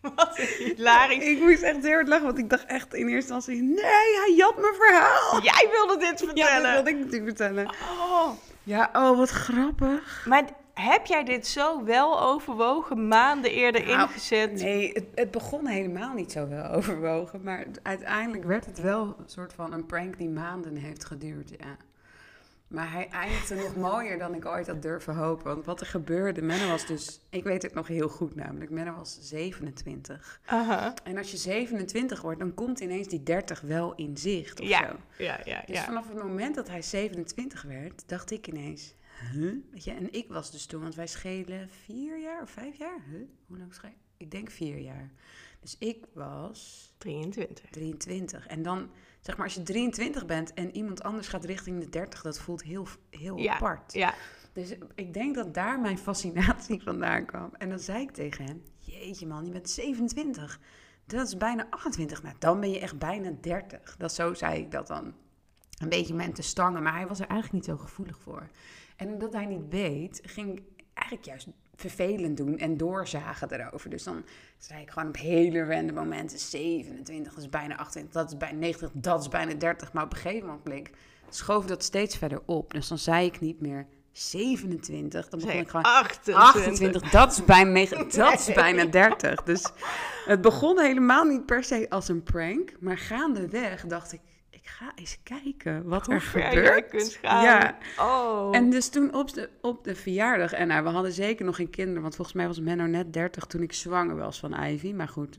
B: Wat een hilarisch.
C: Ik moest echt heel hard lachen, want ik dacht echt in eerste instantie... Nee, hij jat mijn verhaal!
B: Jij wilde dit
C: Ja, dat
B: vertellen.
C: wilde ik natuurlijk vertellen.
B: Oh.
C: Ja, oh, wat grappig.
B: Maar d- heb jij dit zo wel overwogen, maanden eerder
C: Nou,
B: ingezet?
C: Nee, het, het begon helemaal niet zo wel overwogen. Maar het- uiteindelijk werd het wel een soort van een prank die maanden heeft geduurd, ja. Maar hij eindigde nog mooier dan ik ooit had durven hopen. Want wat er gebeurde, Menno was dus... Ik weet het nog heel goed namelijk. Menno was 27.
B: Aha.
C: En als je 27 wordt, dan komt ineens die 30 wel in zicht of
B: Ja,
C: zo.
B: ja, ja,
C: Dus
B: ja.
C: vanaf het moment dat hij 27 werd, dacht ik ineens... Huh? Weet je, en ik was dus toen, want wij schelen vier jaar of vijf jaar? Huh? Hoe lang schelen? Ik denk vier jaar. Dus ik was
B: 23.
C: 23. En dan, zeg maar, als je 23 bent en iemand anders gaat richting de 30, dat voelt heel, heel
B: Ja,
C: apart.
B: Ja.
C: Dus ik denk dat daar mijn fascinatie vandaan kwam. En dan zei ik tegen hem: Jeetje man, je bent 27. Dat is bijna 28. Nou, dan ben je echt bijna 30. Dat, zo zei ik dat dan. Een beetje met de stangen, maar hij was er eigenlijk niet zo gevoelig voor. En omdat hij niet weet, ging ik eigenlijk juist vervelend doen en doorzagen erover. Dus dan zei ik gewoon op hele random momenten: 27, dat is bijna 28, dat is bijna 90, dat is bijna 30. Maar op een gegeven moment bleek, schoof dat steeds verder op. Dus dan zei ik niet meer 27, dan begon
B: Zeg,
C: ik gewoon
B: 28.
C: 28, dat is bijna, negen- dat is bijna 30. Dus het begon helemaal niet per se als een prank. Maar gaandeweg dacht ik, ik ga eens kijken wat er
B: Hoe ver
C: gebeurt.
B: jij kunt gaan.
C: Ja.
B: Oh.
C: En dus toen op de, op de verjaardag, en nou, we hadden zeker nog geen kinderen, want volgens mij was Menno net 30 toen ik zwanger was van Ivy, maar goed.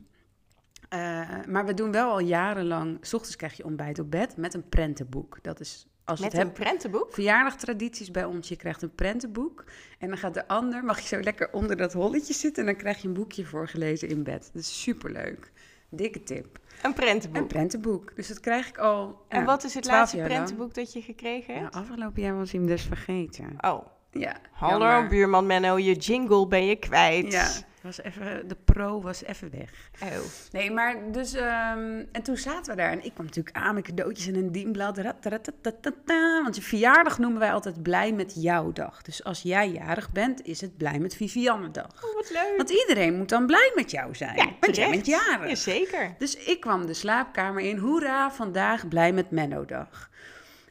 C: Eh, maar we doen wel al jarenlang, s ochtends krijg je ontbijt op bed met een prentenboek. Dat is, als je
B: Met
C: het
B: een
C: hebt,
B: prentenboek?
C: verjaardagstradities bij ons. Je krijgt een prentenboek en dan gaat de ander, mag je zo lekker onder dat holletje zitten en dan krijg je een boekje voorgelezen in bed. Dat is superleuk. Dikke tip.
B: Een prentenboek.
C: Een prentenboek. Dus dat krijg ik al.
B: En
C: nou,
B: wat is het
C: 12
B: laatste
C: jaar lang.
B: prentenboek dat je gekregen
C: Nou,
B: hebt?
C: afgelopen jaar was hij hem dus vergeten.
B: Oh.
C: Ja.
B: Hallo
C: jammer.
B: buurman Menno, je jingle ben je kwijt.
C: Ja, was even, de pro was even weg.
B: Oh.
C: Nee, maar dus... ehm, en toen zaten we daar. En ik kwam natuurlijk aan met cadeautjes en een dienblad. ratatatatata. Want je verjaardag noemen wij altijd blij met jouw dag. Dus als jij jarig bent, is het blij met Vivianne dag.
B: Oh, wat leuk.
C: Want iedereen moet dan blij met jou zijn.
B: ja,
C: want jij
B: terecht.
C: bent jarig.
B: Jazeker.
C: Dus ik kwam de slaapkamer in. Hoera, vandaag blij met Menno-dag.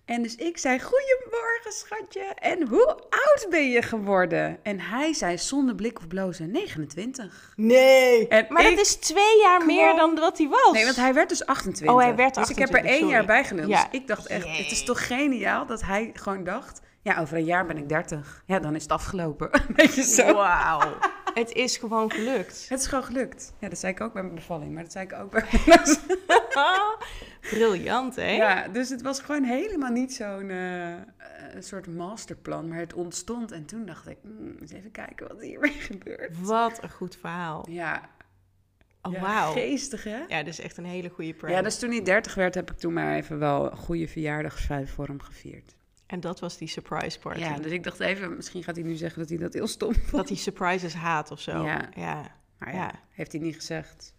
C: En dus ik zei, goedemorgen schatje. En hoe oud ben je geworden? En hij zei zonder blik of blozen, 29.
B: Nee.
C: En
B: maar
C: ik
B: dat is twee jaar meer dan wat hij was.
C: Nee, want hij werd dus 28.
B: Oh, hij werd
C: Dus ik heb er
B: 28,
C: één jaar
B: sorry.
C: bij genomen.
B: Ja.
C: Dus ik dacht echt,
B: Jee.
C: het is toch geniaal dat hij gewoon dacht... Ja, over een jaar ben ik 30. Ja, dan is het afgelopen. Weet je zo?
B: Wauw. Het is gewoon gelukt.
C: Het is gewoon gelukt. Ja, dat zei ik ook bij mijn bevalling. Maar dat zei ik ook bij mijn
B: Ah, Briljant, hè?
C: Ja, dus het was gewoon helemaal niet zo'n eh, eh, soort masterplan, maar het ontstond. En toen dacht ik, "Hmm, eens even kijken wat hiermee gebeurt.
B: Wat een goed verhaal.
C: Ja,
B: Oh,
C: ja,
B: wauw.
C: geestig hè?
B: Ja, dat is echt een hele goede prank.
C: Ja, dus toen hij 30 werd, heb ik toen maar even wel een goede verjaardagsvijf voor hem gevierd.
B: En dat was die surprise party.
C: Ja, dus ik dacht even, misschien gaat hij nu zeggen dat hij dat heel stom vond.
B: Dat hij surprises haat of zo.
C: Ja.
B: ja.
C: Maar ja,
B: Ja.
C: heeft hij niet gezegd.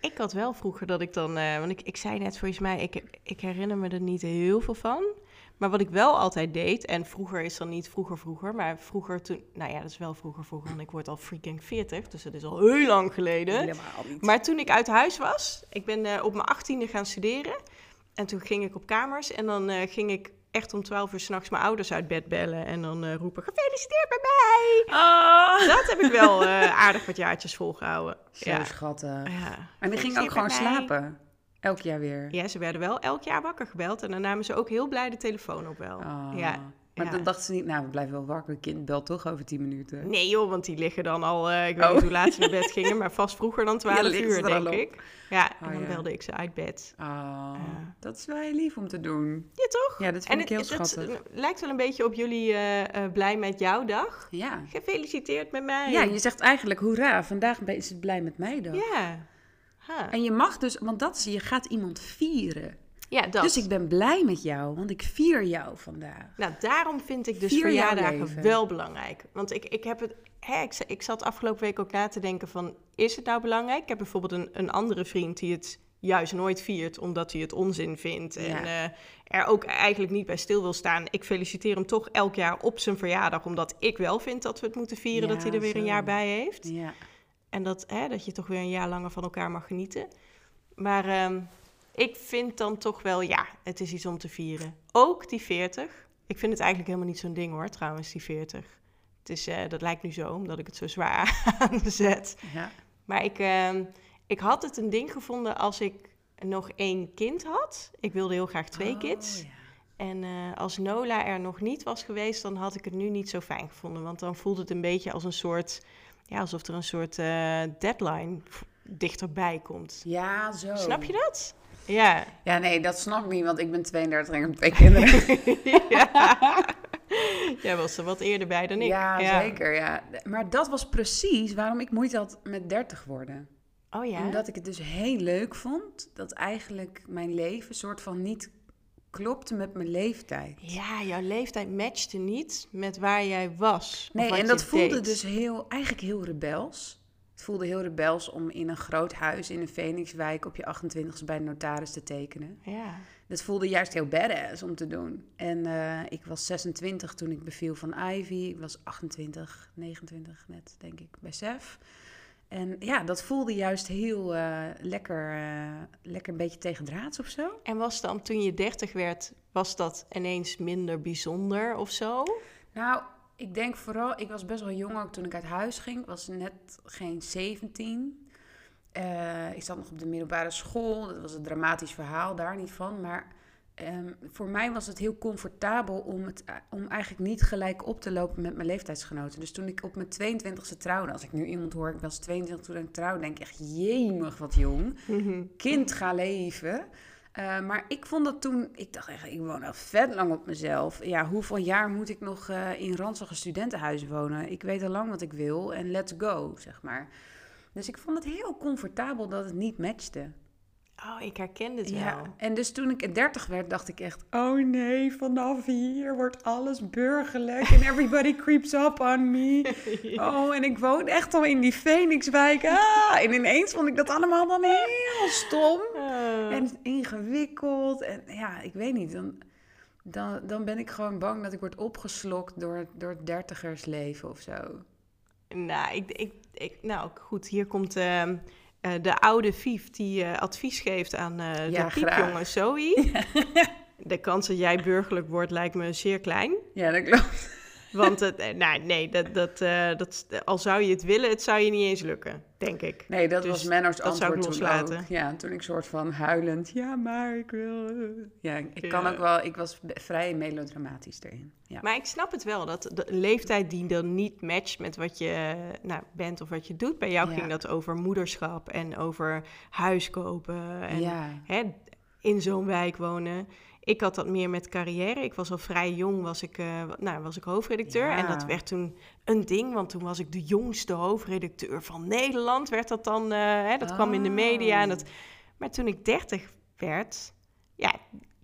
B: Ik had wel vroeger dat ik dan, eh, want ik, ik zei net volgens mij, ik, ik herinner me er niet heel veel van. Maar wat ik wel altijd deed, en vroeger is dan niet vroeger vroeger, maar vroeger toen, nou ja, dat is wel vroeger vroeger, want ik word al freaking 40, dus dat is al heel lang geleden.
C: Helemaal niet.
B: Maar toen ik uit huis was, ik ben eh, op mijn achttiende gaan studeren. En toen ging ik op kamers en dan eh, ging ik echt om 12 uur s'nachts mijn ouders uit bed bellen. En dan eh, roepen, gefeliciteerd bij mij!
A: Oh.
B: Dat heb ik wel eh, aardig wat jaartjes volgehouden.
C: Ah! Zo
B: Ja.
C: schattig.
B: ja.
C: En die ging ook
B: Gefeliciteerd bij
C: gewoon
B: mij.
C: slapen. Elk jaar weer.
B: Ja, ze werden wel elk jaar wakker gebeld. En dan namen ze ook heel blij de telefoon op wel.
C: Ah.
B: Ja.
C: Maar
B: ja.
C: dan dachten ze niet, nou, we blijven wel wakker. Kind belt toch over 10 minuten.
B: Nee joh, want die liggen dan al... eh, ik weet
C: Oh.
B: niet hoe laat ze naar bed gingen, maar vast vroeger dan 12
C: liggen ze
B: uur,
C: er
B: denk
C: al op.
B: ik. Ja, en
C: Oh,
B: dan
C: ja.
B: belde ik ze uit bed.
C: Ah,
B: Ja.
C: dat is wel heel lief om te doen.
B: Ja, toch?
C: Ja, dat vind ik
B: het-
C: heel
B: het-
C: schattig.
B: Het lijkt wel een beetje op jullie eh, eh, blij met jouw dag.
C: Ja.
B: Gefeliciteerd met mij.
C: Ja, je zegt eigenlijk, hoera, vandaag ben- is het blij met mij dan.
B: Ja. Ha.
C: En je mag dus, want dat is, je gaat iemand vieren.
B: ja, dat.
C: Dus ik ben blij met jou, want ik vier jou vandaag.
B: Nou, daarom vind ik dus
C: Vier jaar
B: verjaardagen
C: leven.
B: wel belangrijk. Want ik, ik heb het. Hè, ik, za- ik zat afgelopen week ook na te denken van is het nou belangrijk? Ik heb bijvoorbeeld een, een andere vriend die het juist nooit viert omdat hij het onzin vindt. En
C: Ja.
B: eh, er ook eigenlijk niet bij stil wil staan. Ik feliciteer hem toch elk jaar op zijn verjaardag. Omdat ik wel vind dat we het moeten vieren dat
C: Ja,
B: hij er weer
C: zo.
B: een jaar bij heeft.
C: Ja.
B: En dat, hè, dat je toch weer een jaar langer van elkaar mag genieten. Maar ehm, ik vind dan toch wel, ja, het is iets om te vieren. Ook die 40. Ik vind het eigenlijk helemaal niet zo'n ding hoor, trouwens, die 40. Het is, eh, dat lijkt nu zo, omdat ik het zo zwaar aanzet.
C: ja.
B: Maar ik, ehm, ik had het een ding gevonden als ik nog één kind had. Ik wilde heel graag twee
C: Oh,
B: kids.
C: ja.
B: En eh, als Nola er nog niet was geweest, dan had ik het nu niet zo fijn gevonden. Want dan voelde het een beetje als een soort, ja, alsof er een soort eh, deadline f- dichterbij komt.
C: Ja, zo.
B: Snap je dat? Ja.
C: Ja, nee, dat snap ik niet, want ik ben 32 en ik heb twee kinderen.
B: Jij was er wat eerder bij dan ik.
C: ja, zeker, ja. Maar dat was precies waarom ik moeite had met 30 worden.
B: Oh ja.
C: Omdat ik het dus heel leuk vond dat eigenlijk mijn leven soort van niet klopte met mijn leeftijd.
B: Ja, jouw leeftijd matchte niet met waar jij was. of
C: Nee,
B: wat
C: en
B: je
C: dat voelde
B: deed.
C: dus heel, eigenlijk heel rebels. Het voelde heel rebels om in een groot huis in een Phoenixwijk op je 28ste bij de notaris te tekenen.
B: Ja.
C: Dat voelde juist heel badass om te doen. En eh, ik was 26 toen ik beviel van Ivy. Ik was 28, 29 net, denk ik, bij Sef. En ja, dat voelde juist heel eh, lekker, eh, lekker een beetje tegendraads of zo.
B: En was dan toen je 30 werd, was dat ineens minder bijzonder of zo?
C: Nou, ik denk vooral, ik was best wel jong ook toen ik uit huis ging. Ik was net geen 17. Eh, ik zat nog op de middelbare school. Dat was een dramatisch verhaal, daar niet van. Maar ehm, voor mij was het heel comfortabel om, het, om eigenlijk niet gelijk op te lopen met mijn leeftijdsgenoten. Dus toen ik op mijn 22e trouwde, als ik nu iemand hoor, ik was 22 toen ik trouwde, denk ik echt, jemig wat jong kind ga leven. Eh, maar ik vond dat toen, ik dacht echt, ik woon al vet lang op mezelf. Ja, hoeveel jaar moet ik nog eh, in ranzige studentenhuizen wonen? Ik weet al lang wat ik wil en let's go, zeg maar. Dus ik vond het heel comfortabel dat het niet matchte.
B: Oh, ik herken dit wel.
C: En dus toen ik 30 werd, dacht ik echt, oh nee, vanaf hier wordt alles burgerlijk en everybody creeps up on me. Oh, en ik woon echt al in die Phoenixwijk. Ah, en ineens vond ik dat allemaal dan heel stom.
B: Eh.
C: En ingewikkeld. En ja, ik weet niet. Dan, dan, dan ben ik gewoon bang dat ik word opgeslokt door, door het dertigersleven of zo.
B: Nou, ik, ik, ik, nou goed, hier komt ehm, eh, de oude Vief die eh, advies geeft aan eh
C: Ja,
B: de piepjongen Zoe. De kans dat jij burgerlijk wordt lijkt me zeer klein.
C: Ja, dat klopt.
B: Want het, eh, nou, nee, dat, dat, eh, dat, al zou je het willen, het zou je niet eens lukken, denk ik.
C: Nee, dat
B: Dus
C: was Menno's
B: dat zou ik
C: antwoord toen
B: loslaten.
C: ook. Ja, toen ik soort van huilend, ja, maar ik wil... eh." Ja, ik ik kan
B: Ja.
C: ook wel... Ik was be- vrij melodramatisch erin. Ja.
B: Maar ik snap het wel, dat de een leeftijd die dan niet matcht met wat je eh, nou, bent of wat je doet. Bij jou
C: Ja.
B: ging dat over moederschap en over huis kopen en
C: ja.
B: hè, in zo'n wijk wonen. Ik had dat meer met carrière. Ik was al vrij jong, was ik, eh, wa- nou, was ik hoofdredacteur.
C: Ja.
B: En dat werd toen een ding, want toen was ik de jongste hoofdredacteur van Nederland. Werd dat dan, eh,
C: Ah.
B: hè, dat kwam in de media. En dat... Maar toen ik 30 werd, ja,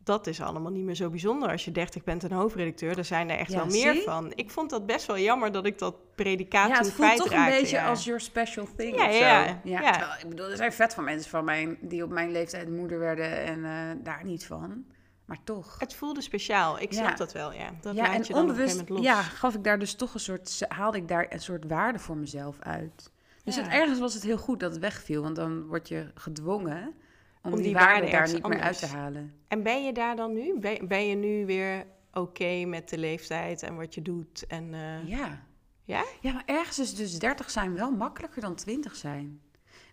B: dat is allemaal niet meer zo bijzonder. Als je 30 bent en hoofdredacteur, er zijn er echt
A: Ja,
B: wel meer
C: zie?
B: van. Ik vond dat best wel jammer dat ik dat predicaat
C: Ja,
B: toen
C: het voelt
B: kwijtraakte.
C: toch een beetje
B: ja.
C: als your special thing
B: Ja,
C: of zo.
B: ja,
C: Ja,
B: ja.
C: terwijl, ik bedoel, er zijn vet van mensen van mijn, die op mijn leeftijd moeder werden en eh, daar niet van. Maar toch.
B: Het voelde speciaal. Ik
C: Ja.
B: snap dat wel, ja. Dat
C: ja,
B: laat
C: en
B: je dan op
C: onbewust
B: een gegeven moment los.
C: ja, gaf ik daar dus toch een soort, haalde ik daar een soort waarde voor mezelf uit. Dus
B: Ja.
C: het, ergens was het heel goed dat het wegviel, want dan word je gedwongen om,
B: Om
C: die,
B: die waarde
C: waarde daar
B: ergens
C: niet meer uit
B: anders.
C: te halen.
B: En ben je daar dan nu? Ben, ben je nu weer oké met de leeftijd en wat je doet? En, eh,
C: Ja.
B: ja?
C: ja, maar ergens is dus 30 zijn wel makkelijker dan 20 zijn.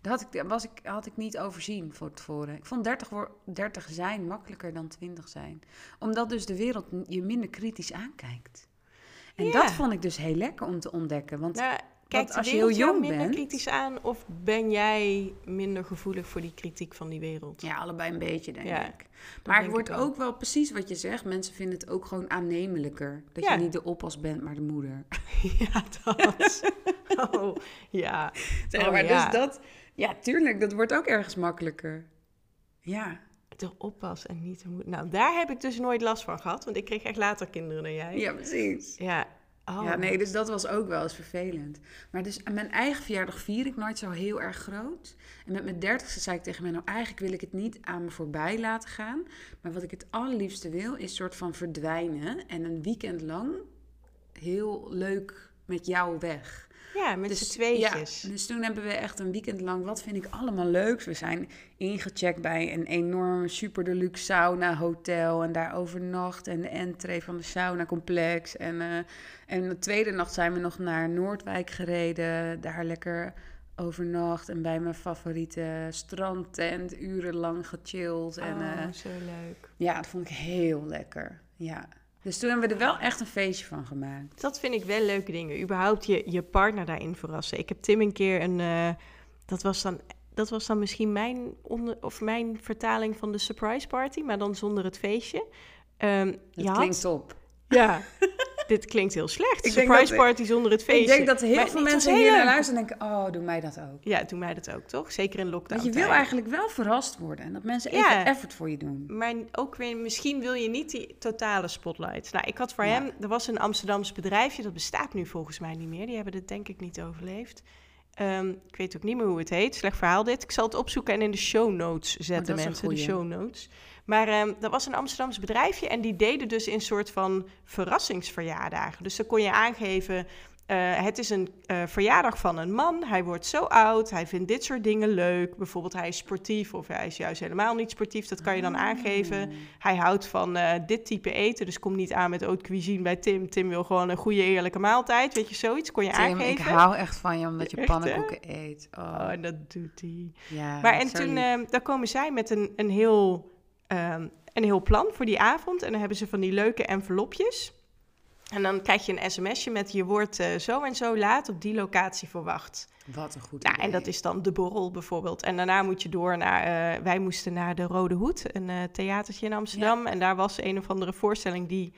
C: Dat had ik, dat was ik, had ik niet overzien voor tevoren. Ik vond 30, woor- 30 zijn makkelijker dan 20 zijn. Omdat dus de wereld je minder kritisch aankijkt. En
B: Ja.
C: dat vond ik dus heel lekker om te ontdekken. Want
B: Nou, kijkt de
C: als je
B: wereld
C: heel
B: jou
C: jong
B: minder
C: bent-
B: kritisch aan of ben jij minder gevoelig voor die kritiek van die wereld?
C: Ja, allebei een beetje, denk
B: Ja,
C: ik. Maar
B: denk
C: het wordt
B: ik ook.
C: ook wel precies wat je zegt. Mensen vinden het ook gewoon aannemelijker. Dat
B: Ja.
C: je niet de oppas bent, maar de moeder.
B: Ja, dat. oh, ja.
C: Zeg
B: Oh,
C: maar,
B: ja.
C: dus dat... Ja, tuurlijk, dat wordt ook ergens makkelijker. Ja.
B: De oppas en niet de moed. Nou, daar heb ik dus nooit last van gehad, want ik kreeg echt later kinderen dan jij.
C: Ja, precies.
B: Ja. Oh.
C: Ja, nee, dus dat was ook wel eens vervelend. Maar dus aan mijn eigen verjaardag vier ik nooit zo heel erg groot. En met mijn dertigste zei ik tegen mij, nou eigenlijk wil ik het niet aan me voorbij laten gaan. Maar wat ik het allerliefste wil, is soort van verdwijnen. En een weekend lang heel leuk met jou weg.
B: Ja, met z'n tweetjes.
C: Dus Ja, dus toen hebben we echt een weekend lang, wat vind ik allemaal leuk. We zijn ingecheckt bij een enorme super deluxe sauna hotel en daar overnacht en de entree van de sauna complex. En, eh, en de tweede nacht zijn we nog naar Noordwijk gereden, daar lekker overnacht en bij mijn favoriete strandtent urenlang gechilled. En, eh,
B: Oh, zo leuk.
C: ja, dat vond ik heel lekker, ja. Dus toen hebben we er wel echt een feestje van gemaakt.
B: Dat vind ik wel leuke dingen. Überhaupt je, je partner daarin verrassen. Ik heb Tim een keer een. eh, dat, was dan, dat was dan misschien mijn, onder, of mijn vertaling van de surprise party, maar dan zonder het feestje. Ehm,
C: Dat
B: je had-
C: klinkt top.
B: Ja. Dit klinkt heel slecht.
C: Ik denk
B: surprise
C: dat-
B: party zonder het feestje.
C: Ik denk dat heel
B: Maar
C: veel
B: het was
C: mensen
B: heel
C: hier naar
B: leuk.
C: luisteren en denken: oh, doe mij dat ook.
B: Ja, toen mij dat ook, toch? Zeker in lockdown.
C: Want je wil
B: tijden.
C: eigenlijk wel verrast worden en dat mensen even
B: Ja.
C: effort voor je doen.
B: Maar ook weer, misschien wil je niet die totale spotlight. Nou, ik had voor
C: Ja.
B: hem, er was een Amsterdams bedrijfje, dat bestaat nu volgens mij niet meer. Die hebben het denk ik niet overleefd. Ehm, ik weet ook niet meer hoe het heet. Slecht verhaal dit. Ik zal het opzoeken en in de show notes zetten,
C: Oh, is een
B: mensen. De
C: goeie.
B: show notes. Maar ehm dat was een Amsterdams bedrijfje en die deden dus een soort van verrassingsverjaardagen. Dus dan kon je aangeven, eh, het is een eh, verjaardag van een man. Hij wordt zo oud. Hij vindt dit soort dingen leuk. Bijvoorbeeld hij is sportief of hij is juist helemaal niet sportief. Dat kan je
C: Ah.
B: dan aangeven. Hij houdt van eh, dit type eten. Dus kom niet aan met haute cuisine bij Tim. Tim wil gewoon een goede eerlijke maaltijd. Weet je, zoiets kon je
C: Tim,
B: aangeven.
C: ik hou echt van je omdat je
B: Echt, hè?
C: pannenkoeken eet. Oh,
B: Oh, en dat doet hij.
C: ja,
B: Maar en
C: zo
B: toen,
C: lief.
B: eh, daar komen zij met een, een, heel, ehm, een heel plan voor die avond. En dan hebben ze van die leuke envelopjes. En dan krijg je een sms'je met je wordt eh, zo en zo laat op die locatie verwacht.
C: Wat een goed
B: Nou,
C: idee.
B: en dat is dan de borrel bijvoorbeeld. En daarna moet je door naar, eh, wij moesten naar de Rode Hoed, een eh, theatertje in Amsterdam. En daar was een of andere voorstelling die,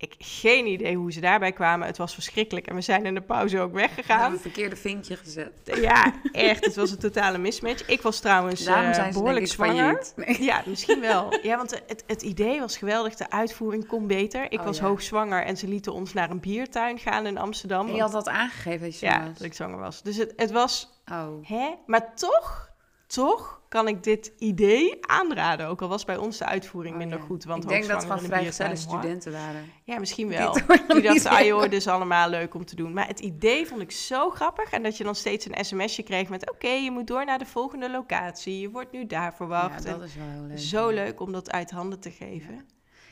B: ik geen idee hoe ze daarbij kwamen. Het was verschrikkelijk en we zijn in de pauze ook
C: We hebben
B: weggegaan.
C: een verkeerde vinkje gezet.
B: Ja, echt. Het was een totale mismatch. Ik was trouwens
C: Daarom
B: eh,
C: zijn ze
B: behoorlijk
C: denk ik
B: zwanger.
C: failliet. Nee.
B: Ja, misschien wel. Ja, want het, het idee was geweldig. De uitvoering kon beter. Ik
C: Oh,
B: was
C: ja.
B: hoogzwanger en ze lieten ons naar een biertuin gaan in Amsterdam.
C: En je had
B: want-
C: dat aangegeven als je
B: ja,
C: was.
B: dat ik zwanger was. Dus het, het was,
C: Oh.
B: hè? Maar toch, toch kan ik dit idee aanraden. Ook al was bij ons de uitvoering
C: Oh,
B: minder
C: ja.
B: goed. Want
C: ik denk dat het
B: hoogzwanger
C: gewoon
B: in een
C: vrijgezelle
B: biertuin, hoor.
C: studenten waren.
B: Ja, misschien wel.
C: dit
B: Die dachten, ah joh,
C: organiseren.
B: dit is allemaal leuk om te doen. Maar het idee vond ik zo grappig. En dat je dan steeds een sms'je kreeg met... oké, je moet door naar de volgende locatie. Je wordt nu daar
C: Ja,
B: verwacht.
C: dat
B: En
C: is wel heel leuk.
B: zo leuk om dat uit handen te geven.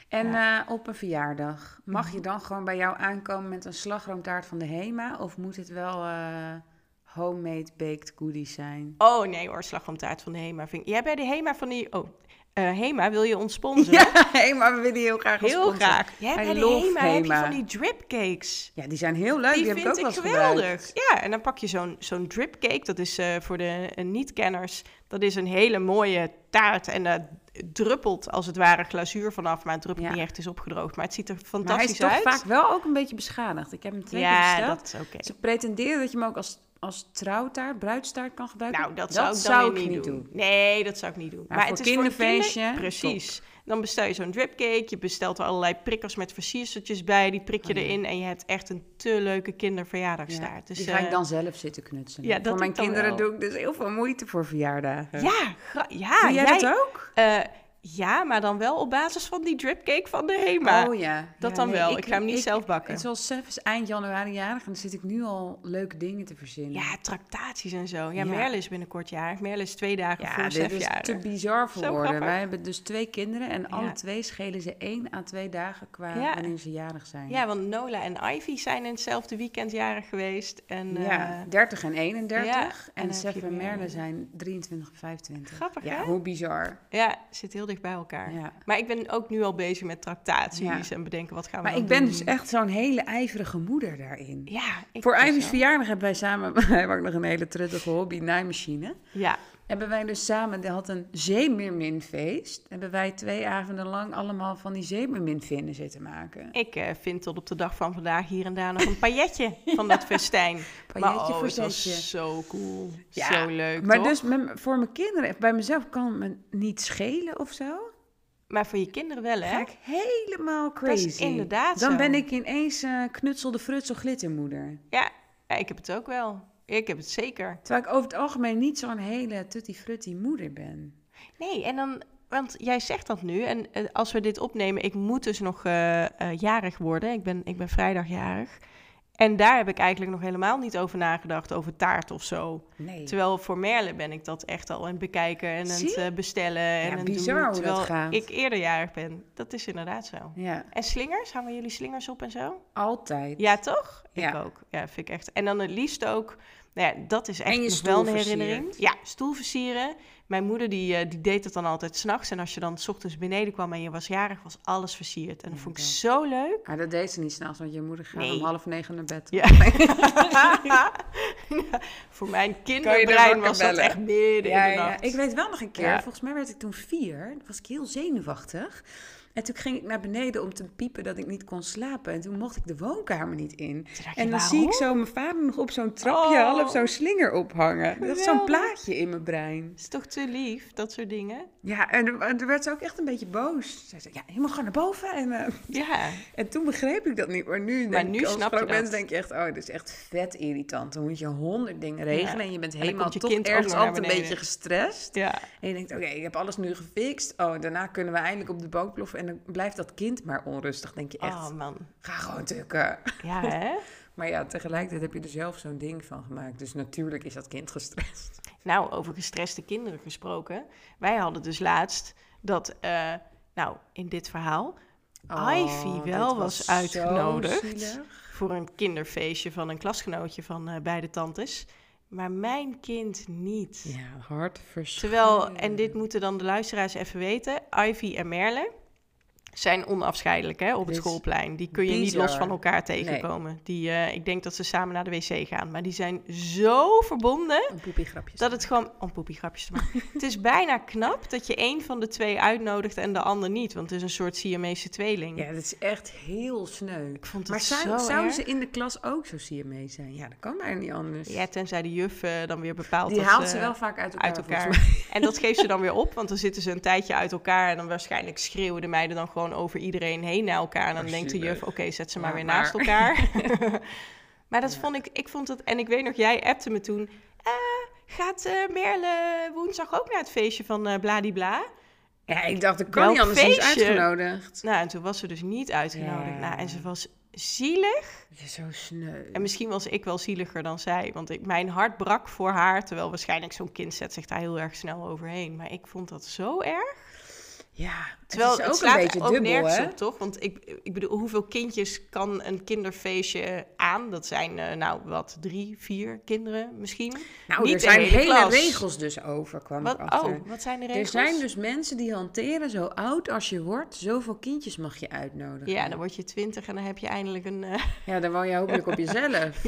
C: En eh, op een verjaardag, mag
B: Mhm.
C: je dan gewoon bij jou aankomen met een slagroomtaart van de HEMA? Of moet het wel eh, homemade baked goodies zijn?
B: Oh nee hoor, slagroomtaart van de HEMA. Vind ik... Jij bij de HEMA van die... Oh, eh, HEMA, wil je ons sponsoren?
C: HEMA, we willen heel graag een
B: Heel
C: sponsor.
B: graag. Jij
C: I
B: bij de
C: love
B: HEMA, heb je
C: HEMA.
B: van die dripcakes.
C: Ja, die zijn heel leuk. Oh, Die,
B: Die,
C: heb ik ook
B: vind ik
C: wel eens
B: geweldig.
C: gebruikt.
B: Ja, en dan pak je zo'n zo'n dripcake. Dat is eh, voor de eh, niet-kenners. Dat is een hele mooie taart. En daar druppelt als het ware glazuur vanaf. Maar het druppelt
C: Ja.
B: niet echt, het is opgedroogd. Maar het ziet er
C: Maar hij is
B: fantastisch
C: toch
B: uit.
C: vaak wel ook een beetje beschadigd. Ik heb hem twee keer
B: ja,
C: besteld.
B: dat is oké.
C: Ze pretendeerden dat je hem ook als als trouwtaart, bruidstaart kan gebruiken?
B: Nou, dat, zou ik dan weer niet doen. Nee, dat zou ik niet doen.
C: Maar voor kinderfeestje,
B: kinder- precies. Dan bestel je zo'n dripcake. Je bestelt er allerlei prikkers met versierseltjes bij. Die prik je
C: Oh, ja.
B: erin. En je hebt echt een te leuke
C: Ja,
B: kinderverjaardagstaart. Dus,
C: die ga ik
B: eh,
C: dan zelf zitten knutselen.
B: ja, dat
C: voor
B: doe
C: mijn
B: ik dan
C: kinderen
B: wel.
C: doe ik dus heel veel moeite voor verjaardagen.
B: Ja, gra- ja.
C: doe jij,
B: jij-
C: dat ook?
B: eh, ja, maar dan wel op basis van die dripcake van de Rema.
C: oh ja.
B: dat
C: Ja,
B: dan
C: nee,
B: wel. Ik, ga hem niet zelf bakken.
C: Het is al Sef is eind januari jarig en dan zit ik nu al leuke dingen te verzinnen.
B: Ja, tractaties en zo. Ja,
C: Ja.
B: Merle is binnenkort jarig. Merle is twee dagen
C: Ja,
B: voor
C: dit
B: zijn
C: is te
B: verjaardag.
C: bizar voor
B: Zo
C: woorden.
B: grappig.
C: Wij hebben dus twee kinderen en alle
B: Ja.
C: twee schelen ze één à twee dagen qua
B: Ja.
C: wanneer ze jarig zijn.
B: Ja, want Nola en Ivy zijn in hetzelfde weekend jarig geweest. En,
C: Ja,
B: eh,
C: 30 en 31.
B: ja, en
C: en
B: dan
C: Sef
B: heb je
C: en
B: weer-
C: Merle zijn 23 en 25.
B: Grappig,
C: Ja,
B: hè?
C: hoe bizar.
B: ja, zit heel dicht bij elkaar.
C: Ja.
B: Maar ik ben ook nu al bezig met tractaties
C: Ja.
B: en bedenken wat gaan we
C: Maar
B: dan
C: ik ben
B: doen.
C: dus echt zo'n hele ijverige moeder daarin.
B: Ja, ik
C: Voor
B: dus
C: Ivy's
B: wel.
C: verjaardag hebben wij samen, wij hebben ook nog een hele truttige hobby, naaimachine.
B: Ja,
C: Hebben wij dus samen, die had een zeemeerminfeest. Hebben wij twee avonden lang allemaal van die zeemeerminvinnen zitten maken.
B: ik eh, vind tot op de dag van vandaag hier en daar nog een pailletje van dat festijn. maar
C: Pailletje
B: oh,
C: voor
B: het
C: zetje.
B: was zo cool.
C: Ja,
B: zo leuk,
C: Maar
B: toch?
C: dus met- voor mijn kinderen, bij mezelf kan het me niet schelen of zo.
B: Maar voor je kinderen wel,
C: Ga
B: hè?
C: ik helemaal crazy.
B: inderdaad
C: Dan
B: zo.
C: ben ik ineens eh knutsel de frutsel glittermoeder.
B: Ja, ja, ik heb het ook wel. Ik heb het zeker.
C: Terwijl ik over het algemeen niet zo'n hele tutti frutti moeder ben.
B: Nee, en dan, want jij zegt dat nu. En eh, als we dit opnemen, ik moet dus nog eh, eh, jarig worden. Ik ben, ik ben vrijdag jarig. En daar heb ik eigenlijk nog helemaal niet over nagedacht, over taart of zo.
C: Nee.
B: Terwijl voor Merle ben ik dat echt al aan het bekijken en aan het
C: Zie?
B: eh, bestellen. En aan het
C: bizar
B: doen,
C: hoe dat
B: terwijl
C: gaat.
B: ik eerder jarig ben. Dat is inderdaad zo.
C: Ja,
B: En slingers, hangen jullie slingers op en zo?
C: altijd.
B: Ja, toch? Ik
C: Ja.
B: ook. Ja, vind ik echt. En dan het liefst ook, nou ja, dat is echt
C: En je
B: nog wel een
C: stoel
B: herinnering. Ja, stoel versieren. Mijn moeder die, eh, die deed dat dan altijd s'nachts. En als je dan s ochtends beneden kwam en je was jarig, was alles versierd. En dat
C: Ja,
B: vond ik
C: dat.
B: zo leuk.
C: Maar Ah, dat deed ze niet s'nachts, want je moeder gaat
B: Nee.
C: om half negen naar bed.
B: Ja. Voor mijn
C: wakker
B: kinderbrein was dat
C: bellen?
B: echt midden in de nacht.
C: Ik weet wel nog een keer,
B: Ja.
C: volgens mij werd ik toen vier. Toen was ik heel zenuwachtig. En toen ging ik naar beneden om te piepen dat ik niet kon slapen. En toen mocht ik de woonkamer niet in.
B: Toen dacht je,
C: En dan
B: waarom?
C: zie ik zo mijn vader nog op zo'n trapje,
B: Oh.
C: half zo'n slinger ophangen. Dat is zo'n
B: Geweldig.
C: plaatje in mijn brein.
B: Het is toch te lief, dat soort dingen.
C: Ja, en, en toen werd ze ook echt een beetje boos. Zij zei, ja, helemaal gewoon naar boven. En, eh,
B: Ja,
C: en toen begreep ik dat niet. Maar nu, denk
B: nu
C: ik, als
B: snap je
C: groot
B: dat.
C: mens denk je echt, oh, dit is echt vet irritant. Dan moet je honderd dingen regelen
B: Ja.
C: en je bent
B: dan
C: helemaal
B: komt je
C: toch
B: kind ook
C: ergens
B: nog naar
C: altijd een
B: beneden.
C: beetje gestrest.
B: ja.
C: En je denkt, oké, ik heb alles nu gefixt. Oh, daarna kunnen we eindelijk op de boot ploffen. En dan blijft dat kind maar onrustig, denk je echt.
B: Oh man.
C: Ga gewoon tukken.
B: Ja, hè?
C: Maar ja, tegelijkertijd heb je er zelf zo'n ding van gemaakt. Dus natuurlijk is dat kind gestrest.
B: Nou, over gestreste kinderen gesproken. Wij hadden dus laatst dat, eh, nou, in dit verhaal, Oh, Ivy wel
C: dit
B: was
C: zo
B: uitgenodigd.
C: zielig.
B: voor een kinderfeestje van een klasgenootje van eh, beide tantes. Maar mijn kind niet.
C: Ja, hartverschillend.
B: Terwijl, en dit moeten dan de luisteraars even weten, Ivy en Merle zijn onafscheidelijk hè, op het
C: Dit is
B: schoolplein. Die kun je niet
C: bizar.
B: los van elkaar tegenkomen. Die, eh, ik denk dat ze samen naar de wc gaan. Maar die zijn zo verbonden
C: Een poepiegrapje.
B: dat het gewoon, om poepiegrapjes te maken. het is bijna knap dat je één van de twee uitnodigt en de ander niet. Want het is een soort Siamese tweeling.
C: Ja, dat is echt heel sneu.
B: Ik vond het
C: Maar zou,
B: zo
C: zou
B: erg.
C: ze in de klas ook zo zie je mee zijn? Ja, dat kan bijna niet anders.
B: Ja, tenzij de juf eh, dan weer bepaalt
C: Die
B: dat
C: haalt ze wel vaak uit elkaar.
B: eh, uit
C: volgens
B: elkaar. En dat geeft ze dan weer op, want dan zitten ze een tijdje uit elkaar... en dan waarschijnlijk schreeuwen de meiden dan gewoon over iedereen heen naar elkaar. En dan
C: Maar
B: denkt de juf,
C: zielig.
B: oké, zet ze
C: Ja,
B: maar weer
C: maar-
B: naast elkaar. maar dat
C: Ja.
B: vond ik, ik vond dat... En ik weet nog, jij appte me toen... "Eh, gaat eh, Merle woensdag ook naar het feestje van eh Bladibla?
C: Ja, ik dacht, dat
B: Wel
C: kan niet anders. Die is
B: feestje.
C: uitgenodigd.
B: Nou, en toen was ze dus niet uitgenodigd.
C: Ja.
B: Nou, en ze was zielig.
C: Dat is zo sneu.
B: En misschien was ik wel zieliger dan zij. Want ik, mijn hart brak voor haar. Terwijl waarschijnlijk zo'n kind zet zich daar heel erg snel overheen. Maar ik vond dat zo erg.
C: Ja,
B: Terwijl
C: het is ook
B: slaat
C: een beetje
B: ook
C: dubbel,
B: nergens
C: hè?
B: op, toch? Want ik, ik bedoel, hoeveel kindjes kan een kinderfeestje aan? Dat zijn, eh, nou, wat, drie, vier kinderen misschien?
C: Nou,
B: Niet
C: er
B: de
C: zijn
B: hele
C: hele,
B: klas.
C: regels dus over, kwam
B: Wat,
C: ik achter.
B: oh, wat zijn de
C: er
B: regels?
C: zijn dus mensen die hanteren, zo oud als je wordt, zoveel kindjes mag je uitnodigen.
B: Ja, dan word je twintig en dan heb je eindelijk een... eh,
C: Ja, dan woon je hopelijk op jezelf.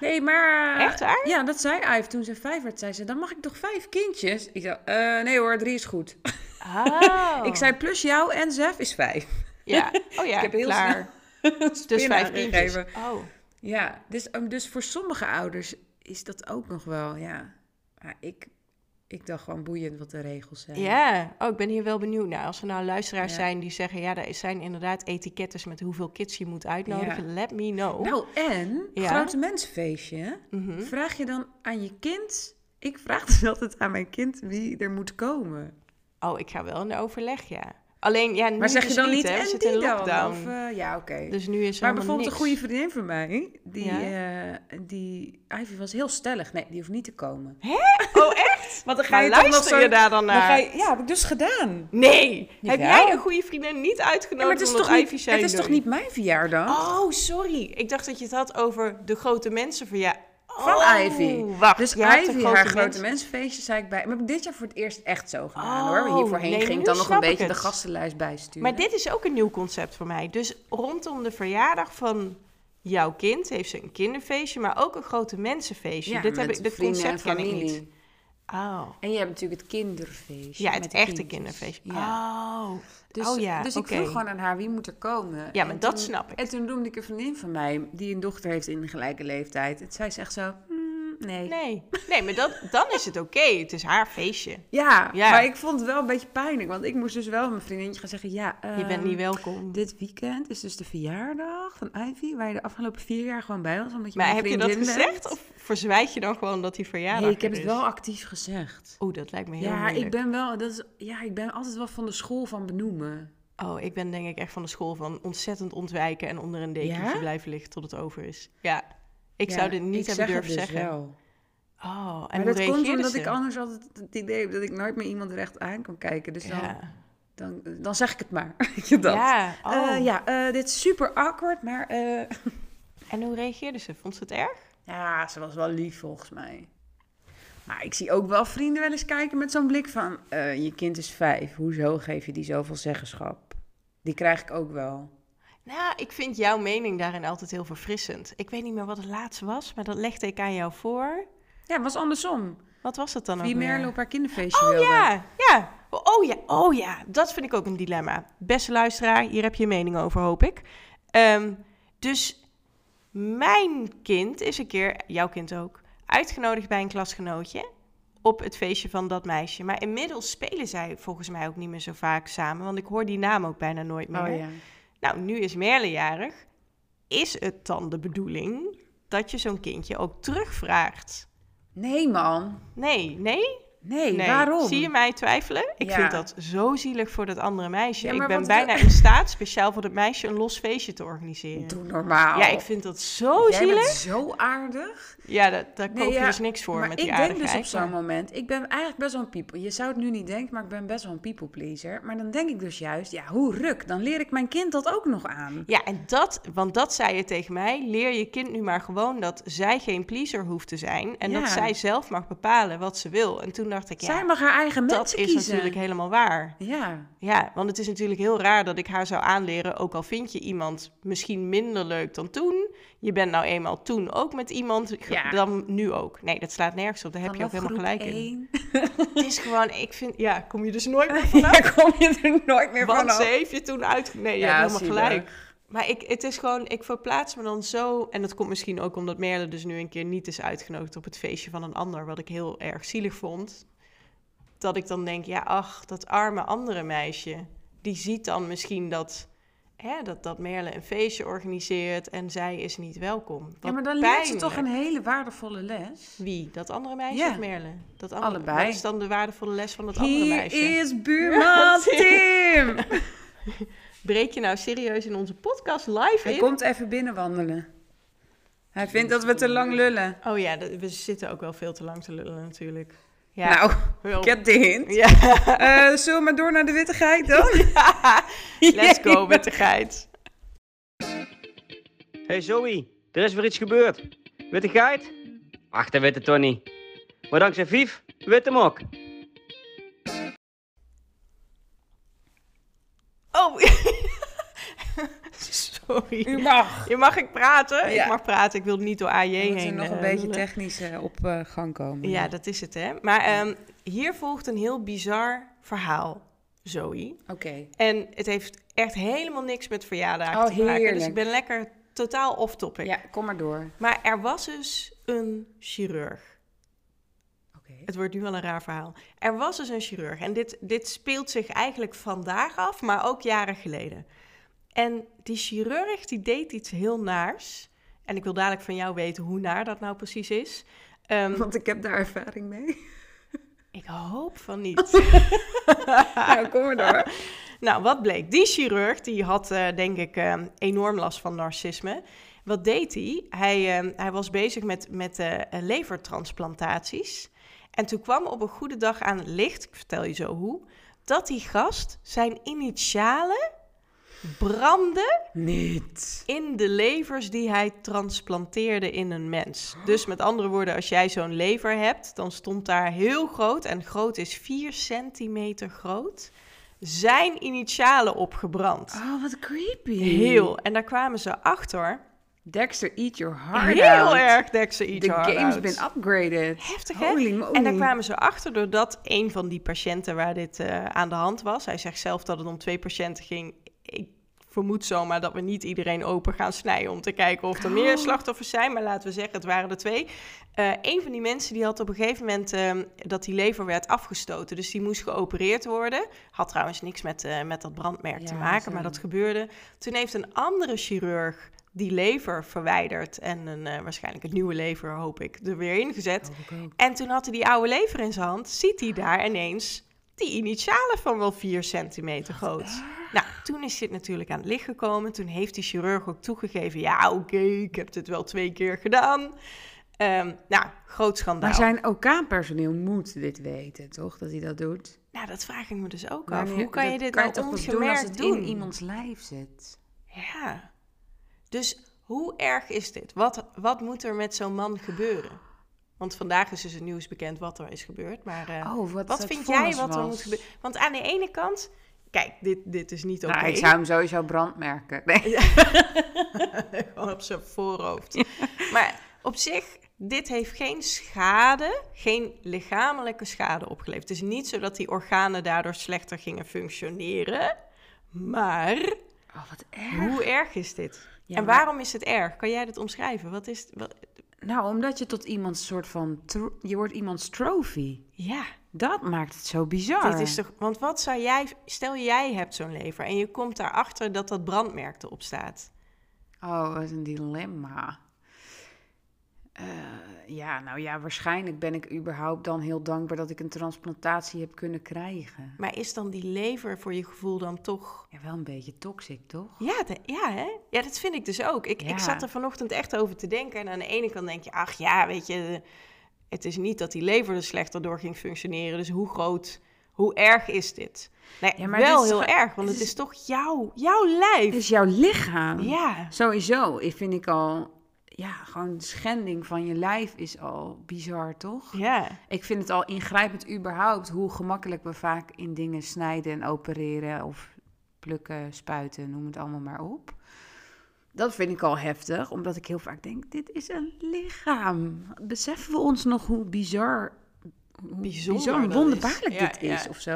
C: Nee, maar...
B: Echt waar?
C: Ja, dat zei Ive toen ze vijf werd. Zei ze, dan mag ik toch vijf kindjes? Ik zei, eh, nee hoor, drie is goed.
B: Oh.
C: Ik zei, plus jou en Zef is vijf.
B: Ja, oh ja,
C: ik heb heel
B: klaar.
C: snel
B: Dus
C: spin
B: vijf kindjes.
C: aangegeven.
B: Oh,
C: Ja, dus, ehm, dus voor sommige ouders is dat ook nog wel, ja. Maar ik, ik dacht gewoon boeiend wat de regels zijn.
B: Ja, oh, ik ben hier wel benieuwd naar. Als er nou luisteraars
C: Ja.
B: zijn die zeggen... ja, er zijn inderdaad etikettes met hoeveel kids je moet uitnodigen. Let me know.
C: Nou, en,
B: Oh. Ja.
C: grote mensenfeestje, hè?
B: Mhm.
C: vraag je dan aan je kind... Ik vraag dus altijd aan mijn kind wie er moet komen.
B: Oh, ik ga wel in de overleg, ja. Alleen, ja, nu
C: Maar zeg je
B: dus
C: dan niet,
B: hè? We
C: en
B: zitten
C: die
B: in
C: dan?
B: lockdown.
C: Of, eh, ja, oké.
B: Dus nu is er
C: Maar
B: helemaal
C: bijvoorbeeld
B: niks.
C: een goede vriendin van mij, die,
B: Ja.
C: eh, die Ivy was heel stellig. Nee, die hoeft niet te komen.
B: Oh, echt?
C: Want dan
B: Maar
C: toch nog
B: luister
C: zo-
B: je daar dan
C: Dan ga
B: naar?
C: je, ja, heb ik dus gedaan.
B: Nee! Heb
C: Jawel.
B: jij een goede vriendin niet
C: Ja, maar
B: uitgenodigd
C: het is,
B: omdat
C: toch niet,
B: Ivy zei
C: het is
B: nee?
C: toch niet mijn verjaardag?
B: Oh, sorry. Ik dacht dat je het had over de grote mensen van ja.
C: Van
B: Oh,
C: Ivy.
B: Wacht,
C: Dus
B: je had de
C: Ivy, haar grote mensenfeestje, zei ik bij. Maar heb ik dit jaar voor het eerst echt zo gedaan
B: Oh,
C: hoor. Maar Hier voorheen
B: nee,
C: ging
B: nu
C: ik dan nog
B: snap
C: een
B: ik
C: beetje
B: het.
C: de gastenlijst bijsturen.
B: Maar dit is ook een nieuw concept voor mij. Dus rondom de verjaardag van jouw kind heeft ze een kinderfeestje, maar ook een grote mensenfeestje.
C: Ja,
B: dit heb
C: met
B: ik, dit
C: vrienden en
B: concept ken ik
C: familie.
B: niet. Oh.
C: En je hebt natuurlijk het kinderfeestje.
B: Ja, het
C: met de
B: echte
C: kindjes.
B: kinderfeestje.
C: Ja.
B: Oh.
C: Dus,
B: oh ja,
C: dus
B: oké.
C: ik vroeg gewoon aan haar wie moet er komen.
B: Ja, maar
C: En
B: dat
C: toen-
B: snap ik.
C: En toen noemde ik een vriendin van mij die een dochter heeft in gelijke leeftijd. En zij zegt zo, "Hmm, nee.
B: Nee, nee maar dat, dan is het oké. Het is haar feestje.
C: Ja,
B: Ja.
C: maar ik vond het wel een beetje pijnlijk. Want ik moest dus wel mijn vriendinnetje gaan zeggen, ja...
B: Je bent
C: ehm,
B: niet welkom.
C: Dit weekend is dus de verjaardag van Ivy, waar je de afgelopen vier jaar gewoon bij was, omdat je
B: Maar
C: mijn
B: heb je dat
C: vriendin bent.
B: gezegd? Of verzwijg je dan gewoon dat die verjaardag
C: Nee, ik heb
B: er
C: het
B: is?
C: wel actief gezegd.
B: Oeh, dat lijkt me heel
C: ja,
B: moeilijk.
C: ik ben wel, dat is, ja, ik ben altijd wel van de school van benoemen.
B: Oh, ik ben denk ik echt van de school van ontzettend ontwijken en onder een dekentje
C: Ja?
B: blijven liggen tot het over is. Ja, ik
C: Ja,
B: zou dit niet
C: ik
B: hebben
C: zeg het
B: durven
C: dus
B: zeggen.
C: wel.
B: Oh, en
C: Maar
B: hoe
C: dat komt
B: reageerde
C: omdat
B: ze?
C: ik anders altijd het idee heb dat ik nooit meer iemand recht aan kan kijken. Dus dan,
B: Ja,
C: dan, dan zeg ik het maar. Weet je dat?
B: ja. oh.
C: Eh, ja eh, dit is super awkward, maar eh,
B: En hoe reageerde ze? Vond ze het erg?
C: ja, ze was wel lief volgens mij. Maar ik zie ook wel vrienden wel eens kijken met zo'n blik van, eh, je kind is vijf, hoezo geef je die zoveel zeggenschap? Die krijg ik ook wel.
B: Nou, ik vind jouw mening daarin altijd heel verfrissend. Ik weet niet meer wat het laatste was, maar dat legde ik aan jou voor.
C: Ja, het was andersom.
B: Wat was dat dan
C: Wie
B: ook weer?
C: Merle op haar kinderfeestje wilde.
B: Oh, Ja, ja. Oh ja, oh ja. Dat vind ik ook een dilemma. Beste luisteraar, hier heb je een mening over, hoop ik. Ehm, dus mijn kind is een keer, jouw kind ook, uitgenodigd bij een klasgenootje op het feestje van dat meisje. Maar inmiddels spelen zij volgens mij ook niet meer zo vaak samen, want ik hoor die naam ook bijna nooit meer.
C: Oh ja.
B: Nou, nu is Merle jarig. Is het dan de bedoeling dat je zo'n kindje ook terugvraagt?
C: Nee man,
B: Nee, nee?
C: nee,
B: Nee.
C: waarom?
B: Zie je mij twijfelen? Ik
C: Ja.
B: vind dat zo zielig voor dat andere meisje.
C: Ja,
B: ik
C: maar
B: ben
C: wat-
B: bijna in staat speciaal voor dat meisje een los feestje te organiseren.
C: Doe normaal. Oh,
B: Ja, ik vind dat zo
C: Jij
B: zielig.
C: bent zo aardig.
B: Ja, dat, daar
C: Nee,
B: koop je
C: ja,
B: dus niks voor
C: maar
B: met
C: ik
B: die
C: denk dus op
B: aardigheid,
C: zo'n
B: maar-
C: moment, ik ben eigenlijk best wel een people. Je zou het nu niet denken, maar ik ben best wel een people pleaser. Maar dan denk ik dus juist, ja, hoe ruk? Dan leer ik mijn kind dat ook nog aan.
B: Ja, en dat, want dat zei je tegen mij. Leer je kind nu maar gewoon dat zij geen pleaser hoeft te zijn. En
C: Ja.
B: dat zij zelf mag bepalen wat ze wil. En toen dacht ik, ja,
C: Zij mag haar eigen
B: dat
C: mensen
B: is
C: kiezen.
B: natuurlijk helemaal waar.
C: Ja,
B: Ja, want het is natuurlijk heel raar dat ik haar zou aanleren, ook al vind je iemand misschien minder leuk dan toen. Je bent nou eenmaal toen ook met iemand, ge-
C: Ja.
B: dan nu ook. Nee, dat slaat nergens op, daar heb je ook
C: Vanaf
B: helemaal
C: groep
B: gelijk in.
C: één.
B: Het is gewoon, ik vind, ja, kom je dus nooit meer vanaf.
C: Daar kom je er nooit meer
B: Want ze
C: vanaf.
B: heeft je toen uitge... Nee, je
C: Ja,
B: hebt helemaal
C: zielig.
B: gelijk. Maar ik, het is gewoon, ik verplaats me dan zo. En dat komt misschien ook omdat Merle dus nu een keer niet is uitgenodigd op het feestje van een ander. Wat ik heel erg zielig vond. Dat ik dan denk, ja, ach, dat arme andere meisje. Die ziet dan misschien dat, hè, dat, dat Merle een feestje organiseert en zij is niet welkom. Wat
C: Ja, maar dan leert ze toch
B: pijnlijk.
C: een hele waardevolle les.
B: Wie? Dat andere meisje
C: Ja.
B: of Merle? Dat andere,
C: Allebei.
B: Wat is dan de waardevolle les van dat andere
C: Hier
B: meisje?
C: is buurman Tim.
B: Breek je nou serieus in onze podcast live
C: Hij
B: in?
C: komt even binnenwandelen. Hij vindt dat we te lang lullen.
B: Oh ja, dat- we zitten ook wel veel te lang te lullen natuurlijk. Ja,
C: Nou,
B: wel-
C: ik heb de hint.
B: Ja,
C: Eh, zullen we maar door naar de witte geit dan?
B: let's go met de geit.
E: Hey Zoe, er is weer iets gebeurd. Witte geit? Ach, dat weet het toch niet. Maar dankzij Vief, weet hem ook.
B: Oh, sorry.
C: U mag.
B: Je mag ik praten?
C: Ja.
B: Ik mag praten, ik wil niet door AJ
C: We
B: heen.
C: moeten nog
B: eh,
C: een beetje
B: lullen.
C: technisch eh, op eh, gang komen.
B: Ja, dat is het hè. Maar ehm, hier volgt een heel bizar verhaal, Zoe.
C: Oké.
B: En het heeft echt helemaal niks met verjaardagen
C: Oh,
B: te maken. Dus
C: heerlijk.
B: ik ben lekker totaal off-topic.
C: Ja, kom maar door.
B: Maar er was dus een chirurg.
C: Oké.
B: Het wordt nu wel een raar verhaal. Er was dus een chirurg en dit, dit speelt zich eigenlijk vandaag af, maar ook jaren geleden. En die chirurg die deed iets heel naars. En ik wil dadelijk van jou weten hoe naar dat nou precies is. Ehm,
C: Want ik heb daar ervaring mee.
B: ik hoop van niet. Ah.
C: nou, kom maar door.
B: nou, wat bleek? Die chirurg die had eh, denk ik eh, enorm last van narcisme. Wat deed hij? Hij, eh, hij was bezig met, met eh, eh, levertransplantaties. En toen kwam op een goede dag aan het licht, ik vertel je zo hoe, dat die gast zijn initialen brandde
C: Niet.
B: in de levers die hij transplanteerde in een mens. Dus met andere woorden, als jij zo'n lever hebt, dan stond daar heel groot, en groot is 4 centimeter groot, zijn initialen opgebrand.
C: Oh, wat creepy.
B: Heel. En daar kwamen ze achter.
C: Dexter, eat your heart out.
B: Heel erg Dexter Eat
C: De
B: Your Heart
C: game's
B: Out.
C: been upgraded.
B: Heftig, hè?
C: Holy moly.
B: En daar kwamen ze achter doordat een van die patiënten waar dit eh, aan de hand was... Hij zegt zelf dat het om twee patiënten ging. Ik vermoed zomaar dat we niet iedereen open gaan snijden... om te kijken of er
C: Oh.
B: meer slachtoffers zijn. Maar laten we zeggen, het waren er twee. Eh een van die mensen die had op een gegeven moment... ehm, dat die lever werd afgestoten. Dus die moest geopereerd worden. Had trouwens niks met, eh, met dat brandmerk te
C: Ja,
B: maken,
C: zo.
B: maar dat gebeurde. Toen heeft een andere chirurg... Die lever verwijderd en een, eh, waarschijnlijk een nieuwe lever, hoop ik, er weer ingezet.
C: Hoop ik ook.
B: En toen had hij die oude lever in zijn hand, ziet hij daar ineens die initialen van wel 4 centimeter groot. Nou, toen is dit natuurlijk aan het licht gekomen. Toen heeft die chirurg ook toegegeven, ja oké, ik heb dit wel twee keer gedaan. Ehm, nou, groot schandaal.
C: Maar zijn OK-personeel moet dit weten, toch? Dat hij dat doet.
B: Nou, dat vraag ik me dus ook af.
C: Wanneer-
B: Hoe kan je
C: dat
B: dit
C: kan
B: nou
C: toch pas
B: ongemerkt
C: doen als het
B: doen?
C: in iemands lijf zit?
B: Ja. Dus hoe erg is dit? Wat, wat moet er met zo'n man gebeuren? Want vandaag is dus het nieuws bekend wat er is gebeurd. Maar eh,
C: Oh, wat
B: wat
C: het
B: vind jij
C: vonnis
B: wat er
C: was.
B: moet gebeuren? Want aan de ene kant, kijk, dit, dit is niet oké.
C: Nou, ik zou hem sowieso brandmerken. Nee.
B: Gewoon op zijn voorhoofd. Maar op zich, dit heeft geen schade, geen lichamelijke schade opgeleverd. Het is niet zo dat die organen daardoor slechter gingen functioneren. Maar
C: Oh, wat erg.
B: hoe erg is dit?
C: Ja,
B: en
C: maar-
B: waarom is het erg? Kan jij dit omschrijven? Wat is het? wat-
C: Nou, omdat je tot iemands soort van... tro- Je wordt iemands trophy.
B: Ja,
C: Dat maakt het zo bizar.
B: dit is toch. Want wat zou jij. Stel jij hebt zo'n lever en je komt daarachter dat dat brandmerk erop staat.
C: Oh, wat een dilemma. Eh, ja, nou ja, waarschijnlijk ben ik überhaupt dan heel dankbaar dat ik een transplantatie heb kunnen krijgen.
B: Maar is dan die lever voor je gevoel dan toch.
C: Ja, wel een beetje toxic, toch?
B: Ja, de- ja, hè? ja, dat vind ik dus ook. Ik,
C: Ja.
B: ik zat er vanochtend echt over te denken. En aan de ene kant denk je, ach ja, weet je, het is niet dat die lever er slechter door ging functioneren. Dus hoe groot, hoe erg is dit? Nee,
C: Ja, maar
B: wel
C: dit is
B: heel
C: toch-
B: erg, want
C: dit
B: het
C: is-
B: is toch jouw, jouw lijf.
C: Het is jouw lichaam.
B: Ja,
C: Sowieso ik vind ik al... Ja, gewoon schending van je lijf is al bizar, toch?
B: ja.
C: Ik vind het al ingrijpend überhaupt hoe gemakkelijk we vaak in dingen snijden en opereren of plukken, spuiten, noem het allemaal maar op. Dat vind ik al heftig, omdat ik heel vaak denk, dit is een lichaam. Beseffen we ons nog hoe bizar, hoe
B: Bijzonder
C: bizar en
B: dat is.
C: wonderbaarlijk
B: Ja,
C: dit
B: ja.
C: is of zo?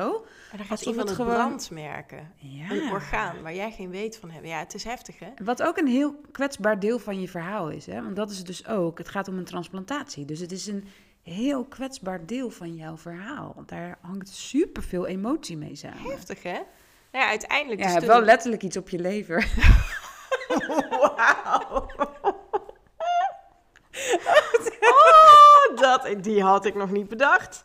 B: Maar dan gaat
C: Alsof
B: iemand het
C: het
B: gewoon...
C: gewoon-
B: brandmerken.
C: Ja.
B: Een orgaan waar jij geen weet van hebt. Ja, het is heftig, hè?
C: Wat ook een heel kwetsbaar deel van je verhaal is, hè? want dat is het dus ook. Het gaat om een transplantatie, dus het is een heel kwetsbaar deel van jouw verhaal. Daar hangt superveel emotie mee samen.
B: Heftig, hè? Nou ja, uiteindelijk...
C: Ja,
B: dus
C: je hebt
B: toen-
C: wel letterlijk iets op je lever.
B: Oh, dat, die had ik nog niet bedacht.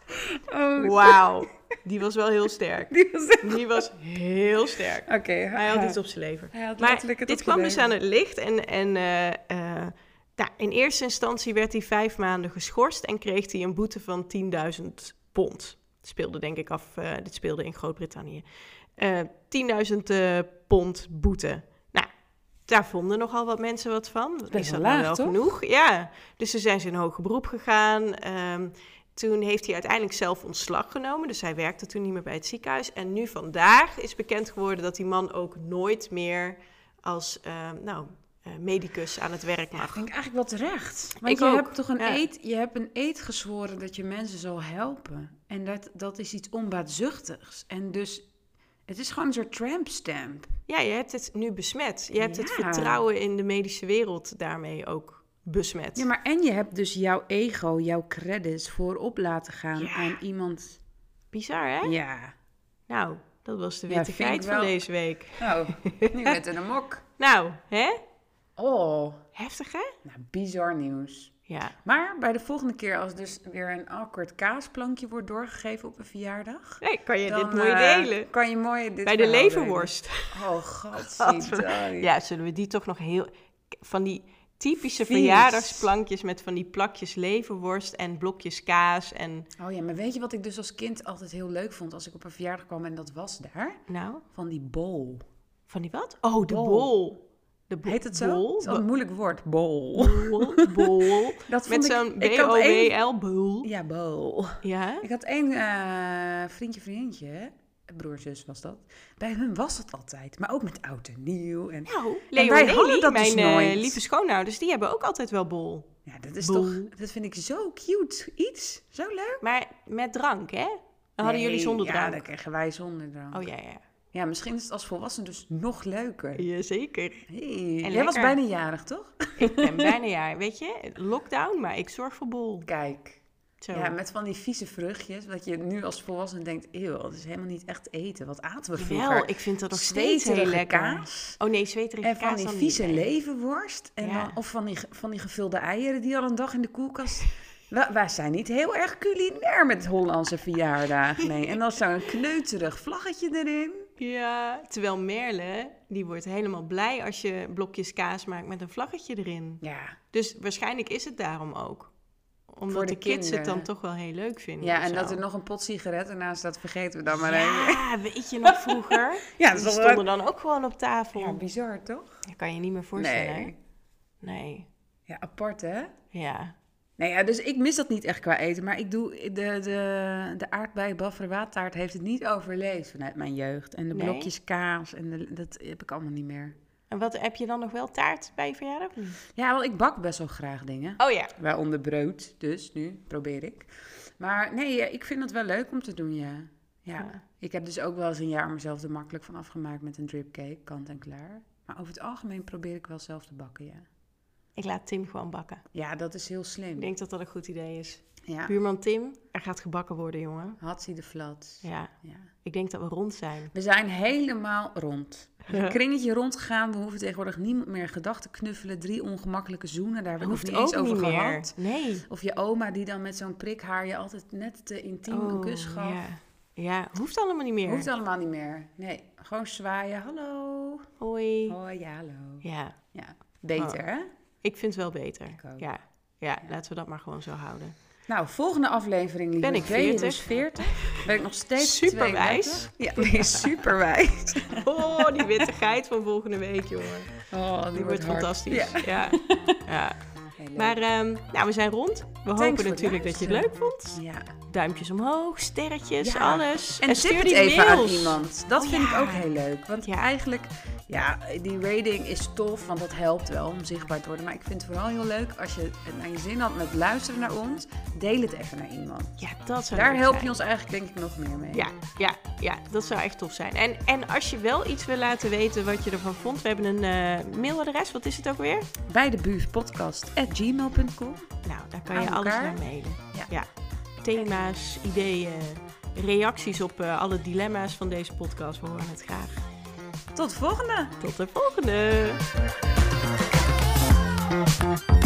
B: Wauw. Die was wel heel sterk.
C: Oh. Die was echt-
B: Die was heel sterk.
C: Oké,
B: Hij had iets op zijn lever.
C: Hij had
B: Maar
C: letterlijk het
B: dit
C: op
B: kwam
C: zijn
B: dus aan
C: lever.
B: het licht en... en eh, eh, nou, in eerste instantie werd hij vijf maanden geschorst en kreeg hij een boete van 10.000 pond. Het speelde denk ik af, eh, dit speelde in Groot-Brittannië. Eh, 10.000 eh, pond boete. Nou, daar vonden nogal wat mensen wat van.
C: best
B: Is dat
C: wel
B: nou wel
C: laag, toch?
B: genoeg? Ja, dus toen zijn ze in hoger beroep gegaan. Ehm, toen heeft hij uiteindelijk zelf ontslag genomen. Dus hij werkte toen niet meer bij het ziekenhuis. En nu vandaag is bekend geworden dat die man ook nooit meer als ehm, nou, eh, medicus aan het werk
C: Ja,
B: mag.
C: vind ik eigenlijk wel terecht. Want
B: Ik
C: je
B: ook,
C: hebt toch een
B: ja.
C: eed, je hebt een eed gezworen dat je mensen zal helpen. En dat, dat is iets onbaatzuchtigs. En dus Het is gewoon een soort tramp stamp.
B: Ja, je hebt het nu besmet. Je hebt het
C: Ja.
B: vertrouwen in de medische wereld daarmee ook besmet.
C: Ja, maar en je hebt dus jouw ego, jouw credits voorop laten gaan
B: Ja.
C: aan iemand.
B: Bizar, hè?
C: Ja.
B: Nou, dat was de
C: Ja,
B: witte
C: vind ik
B: geit van
C: wel.
B: deze week.
C: Nou, nu werd het een mok.
B: Nou, hè?
C: Oh,
B: Heftig, hè?
C: nou, bizar nieuws.
B: Ja.
C: Maar bij de volgende keer, als dus weer een awkward kaasplankje wordt doorgegeven op een verjaardag.
B: Nee, kan je dit
C: dan,
B: mooi
C: eh,
B: delen?
C: Kan je mooi dit
B: Bij de
C: verhaal delen.
B: leverworst.
C: Oh, god.
B: Ja, zullen we die toch nog heel... Van die typische
C: Vies.
B: verjaardagsplankjes met van die plakjes leverworst en blokjes kaas en...
C: Oh ja, maar weet je wat ik dus als kind altijd heel leuk vond als ik op een verjaardag kwam en dat was daar?
B: Nou,
C: Van die bol.
B: van die wat? Oh, de
C: Bol.
B: bol. De bo-
C: Heet het zo?
B: Bol?
C: Het is wel een moeilijk woord, bol.
B: Bol, bol.
C: Dat
B: Met
C: vond ik-
B: zo'n
C: ik had één-
B: B-O-W-L-bol.
C: Ja, bol.
B: Ja?
C: Ik had één eh, vriendje, vriendje, broer, zus was dat. Bij hun was dat altijd, maar ook met oud en nieuw. En,
B: Nou,
C: wij
B: Leo en
C: hadden
B: Eli,
C: dat dus
B: mijn eh,
C: nooit.
B: lieve schoonouders, die hebben ook altijd wel bol.
C: ja, dat is
B: Bol.
C: toch, dat vind ik zo cute. Iets, zo leuk.
B: Maar met drank, hè? Dan hadden jullie
C: Nee,
B: zonder
C: Ja, dat
B: drank.
C: kregen wij zonder drank.
B: Oh ja, ja.
C: Ja, misschien is het als volwassen dus nog leuker.
B: Jazeker.
C: Hey, Jij
B: lekker.
C: was bijna jarig, toch?
B: Ik ben bijna jaar, weet je? Lockdown, maar ik zorg voor bol.
C: Kijk.
B: Zo.
C: Ja, met van die vieze vruchtjes. Dat je nu als volwassene denkt, eeuw, dat is helemaal niet echt eten. Wat aten we vroeger?
B: Wel, ik vind dat nog steeds heel
C: Zweterige
B: lekker.
C: kaas.
B: Oh nee, zweterige
C: En van
B: kaas
C: die
B: dan
C: vieze
B: niet, nee.
C: levenworst. En
B: Ja.
C: dan, of van die, ge- van die gevulde eieren die al een dag in de koelkast... Wa- Wij zijn niet heel erg culinair met Hollandse verjaardag. Nee. En dan zo'n kneuterig vlaggetje erin.
B: Ja, terwijl Merle, die wordt helemaal blij als je blokjes kaas maakt met een vlaggetje erin.
C: Ja,
B: Dus waarschijnlijk is het daarom ook. Omdat
C: Voor
B: de,
C: de
B: kids het dan
C: kinderen.
B: toch wel heel leuk vinden.
C: ja
B: of
C: en
B: zo.
C: dat er nog een pot sigaretten naast staat, vergeten we dan maar even.
B: Ja, weet je nog vroeger?
C: Ja,
B: die
C: dat is wel-
B: stonden dan ook gewoon op tafel.
C: Ja, bizar toch?
B: Dat kan je niet meer voorstellen. hè? Nee.
C: Ja, apart hè?
B: Ja.
C: Nou ja, dus ik mis dat niet echt qua eten. Maar ik doe, de, de, de aardbei-bafferwaadtaart heeft het niet overleefd vanuit mijn jeugd. En de
B: Nee?
C: blokjes kaas, en de, dat heb ik allemaal niet meer.
B: En wat heb je dan nog wel taart bij je verjaardag? of niet?
C: Ja, want ik bak best wel graag dingen.
B: Oh ja.
C: Waaronder brood, dus nu probeer ik. Maar nee, eh, ik vind het wel leuk om te doen, ja. Ja,
B: Ja.
C: ik heb dus ook wel eens een jaar mezelf er makkelijk van afgemaakt met een dripcake, kant en klaar. Maar over het algemeen probeer ik wel zelf te bakken, ja.
B: Ik laat Tim gewoon bakken.
C: Ja, dat is heel slim.
B: Ik denk dat dat een goed idee is.
C: Ja,
B: Buurman Tim, er gaat gebakken worden, jongen.
C: Hatsie de flats.
B: Ja,
C: Ja.
B: ik denk dat we rond zijn.
C: We zijn helemaal rond. We zijn Een kringetje rondgegaan. We hoeven tegenwoordig niemand meer gedachten knuffelen. Drie ongemakkelijke zoenen, daar hebben we nog niet eens over gehad.
B: Nee.
C: Of je oma die dan met zo'n prikhaar je altijd net te intiem een kus gaf.
B: Oh, ja. ja, hoeft allemaal niet meer.
C: Hoeft allemaal niet meer. Nee, gewoon zwaaien. Hallo.
B: Hoi.
C: Hoi, ja, hallo.
B: Ja, Oh.
C: Ja, beter hè?
B: ik vind het wel beter.
C: Ik ook.
B: Ja. Ja, laten we dat maar gewoon zo houden.
C: Nou, volgende aflevering lieve
B: Ben ik
C: Vee, dus
B: 40?
C: 40. Ben ik nog steeds
B: Superwijs.
C: 32. Ja, ben je superwijs.
B: Oh, die witte geit van volgende week, jongen.
C: Oh, die,
B: Die wordt
C: hard.
B: fantastisch.
C: Ja.
B: Ja. ja.
C: Heel leuk.
B: Maar ehm, nou, we zijn rond. We
C: voor
B: hopen
C: het
B: natuurlijk dat je het leuk
C: luisteren.
B: vond.
C: ja.
B: Duimpjes omhoog, sterretjes,
C: Ja.
B: alles. stuur
C: En, stuur het
B: die
C: even
B: mails.
C: aan iemand. Dat
B: Oh,
C: vind
B: ja.
C: ik ook heel leuk. Want
B: Ja.
C: eigenlijk, ja, die rating is tof, want dat helpt wel om zichtbaar te worden. Maar ik vind het vooral heel leuk als je het naar je zin had met luisteren naar ons. Deel het even naar iemand.
B: Ja, dat zou
C: Daar
B: leuk
C: help
B: zijn.
C: je ons eigenlijk denk ik nog meer mee.
B: Ja, ja, ja, dat zou echt tof zijn. En, en als je wel iets wil laten weten wat je ervan vond, we hebben een eh, mailadres. Wat is het ook weer?
C: Bij de buurtpodcast at gmail.com.
B: Nou, daar kan
C: Aan
B: je alles
C: elkaar.
B: naar mailen. Ja.
C: Ja.
B: Thema's, ideeën, reacties op eh, alle dilemma's van deze podcast. We horen het graag.
C: Tot de volgende!
B: Tot de volgende!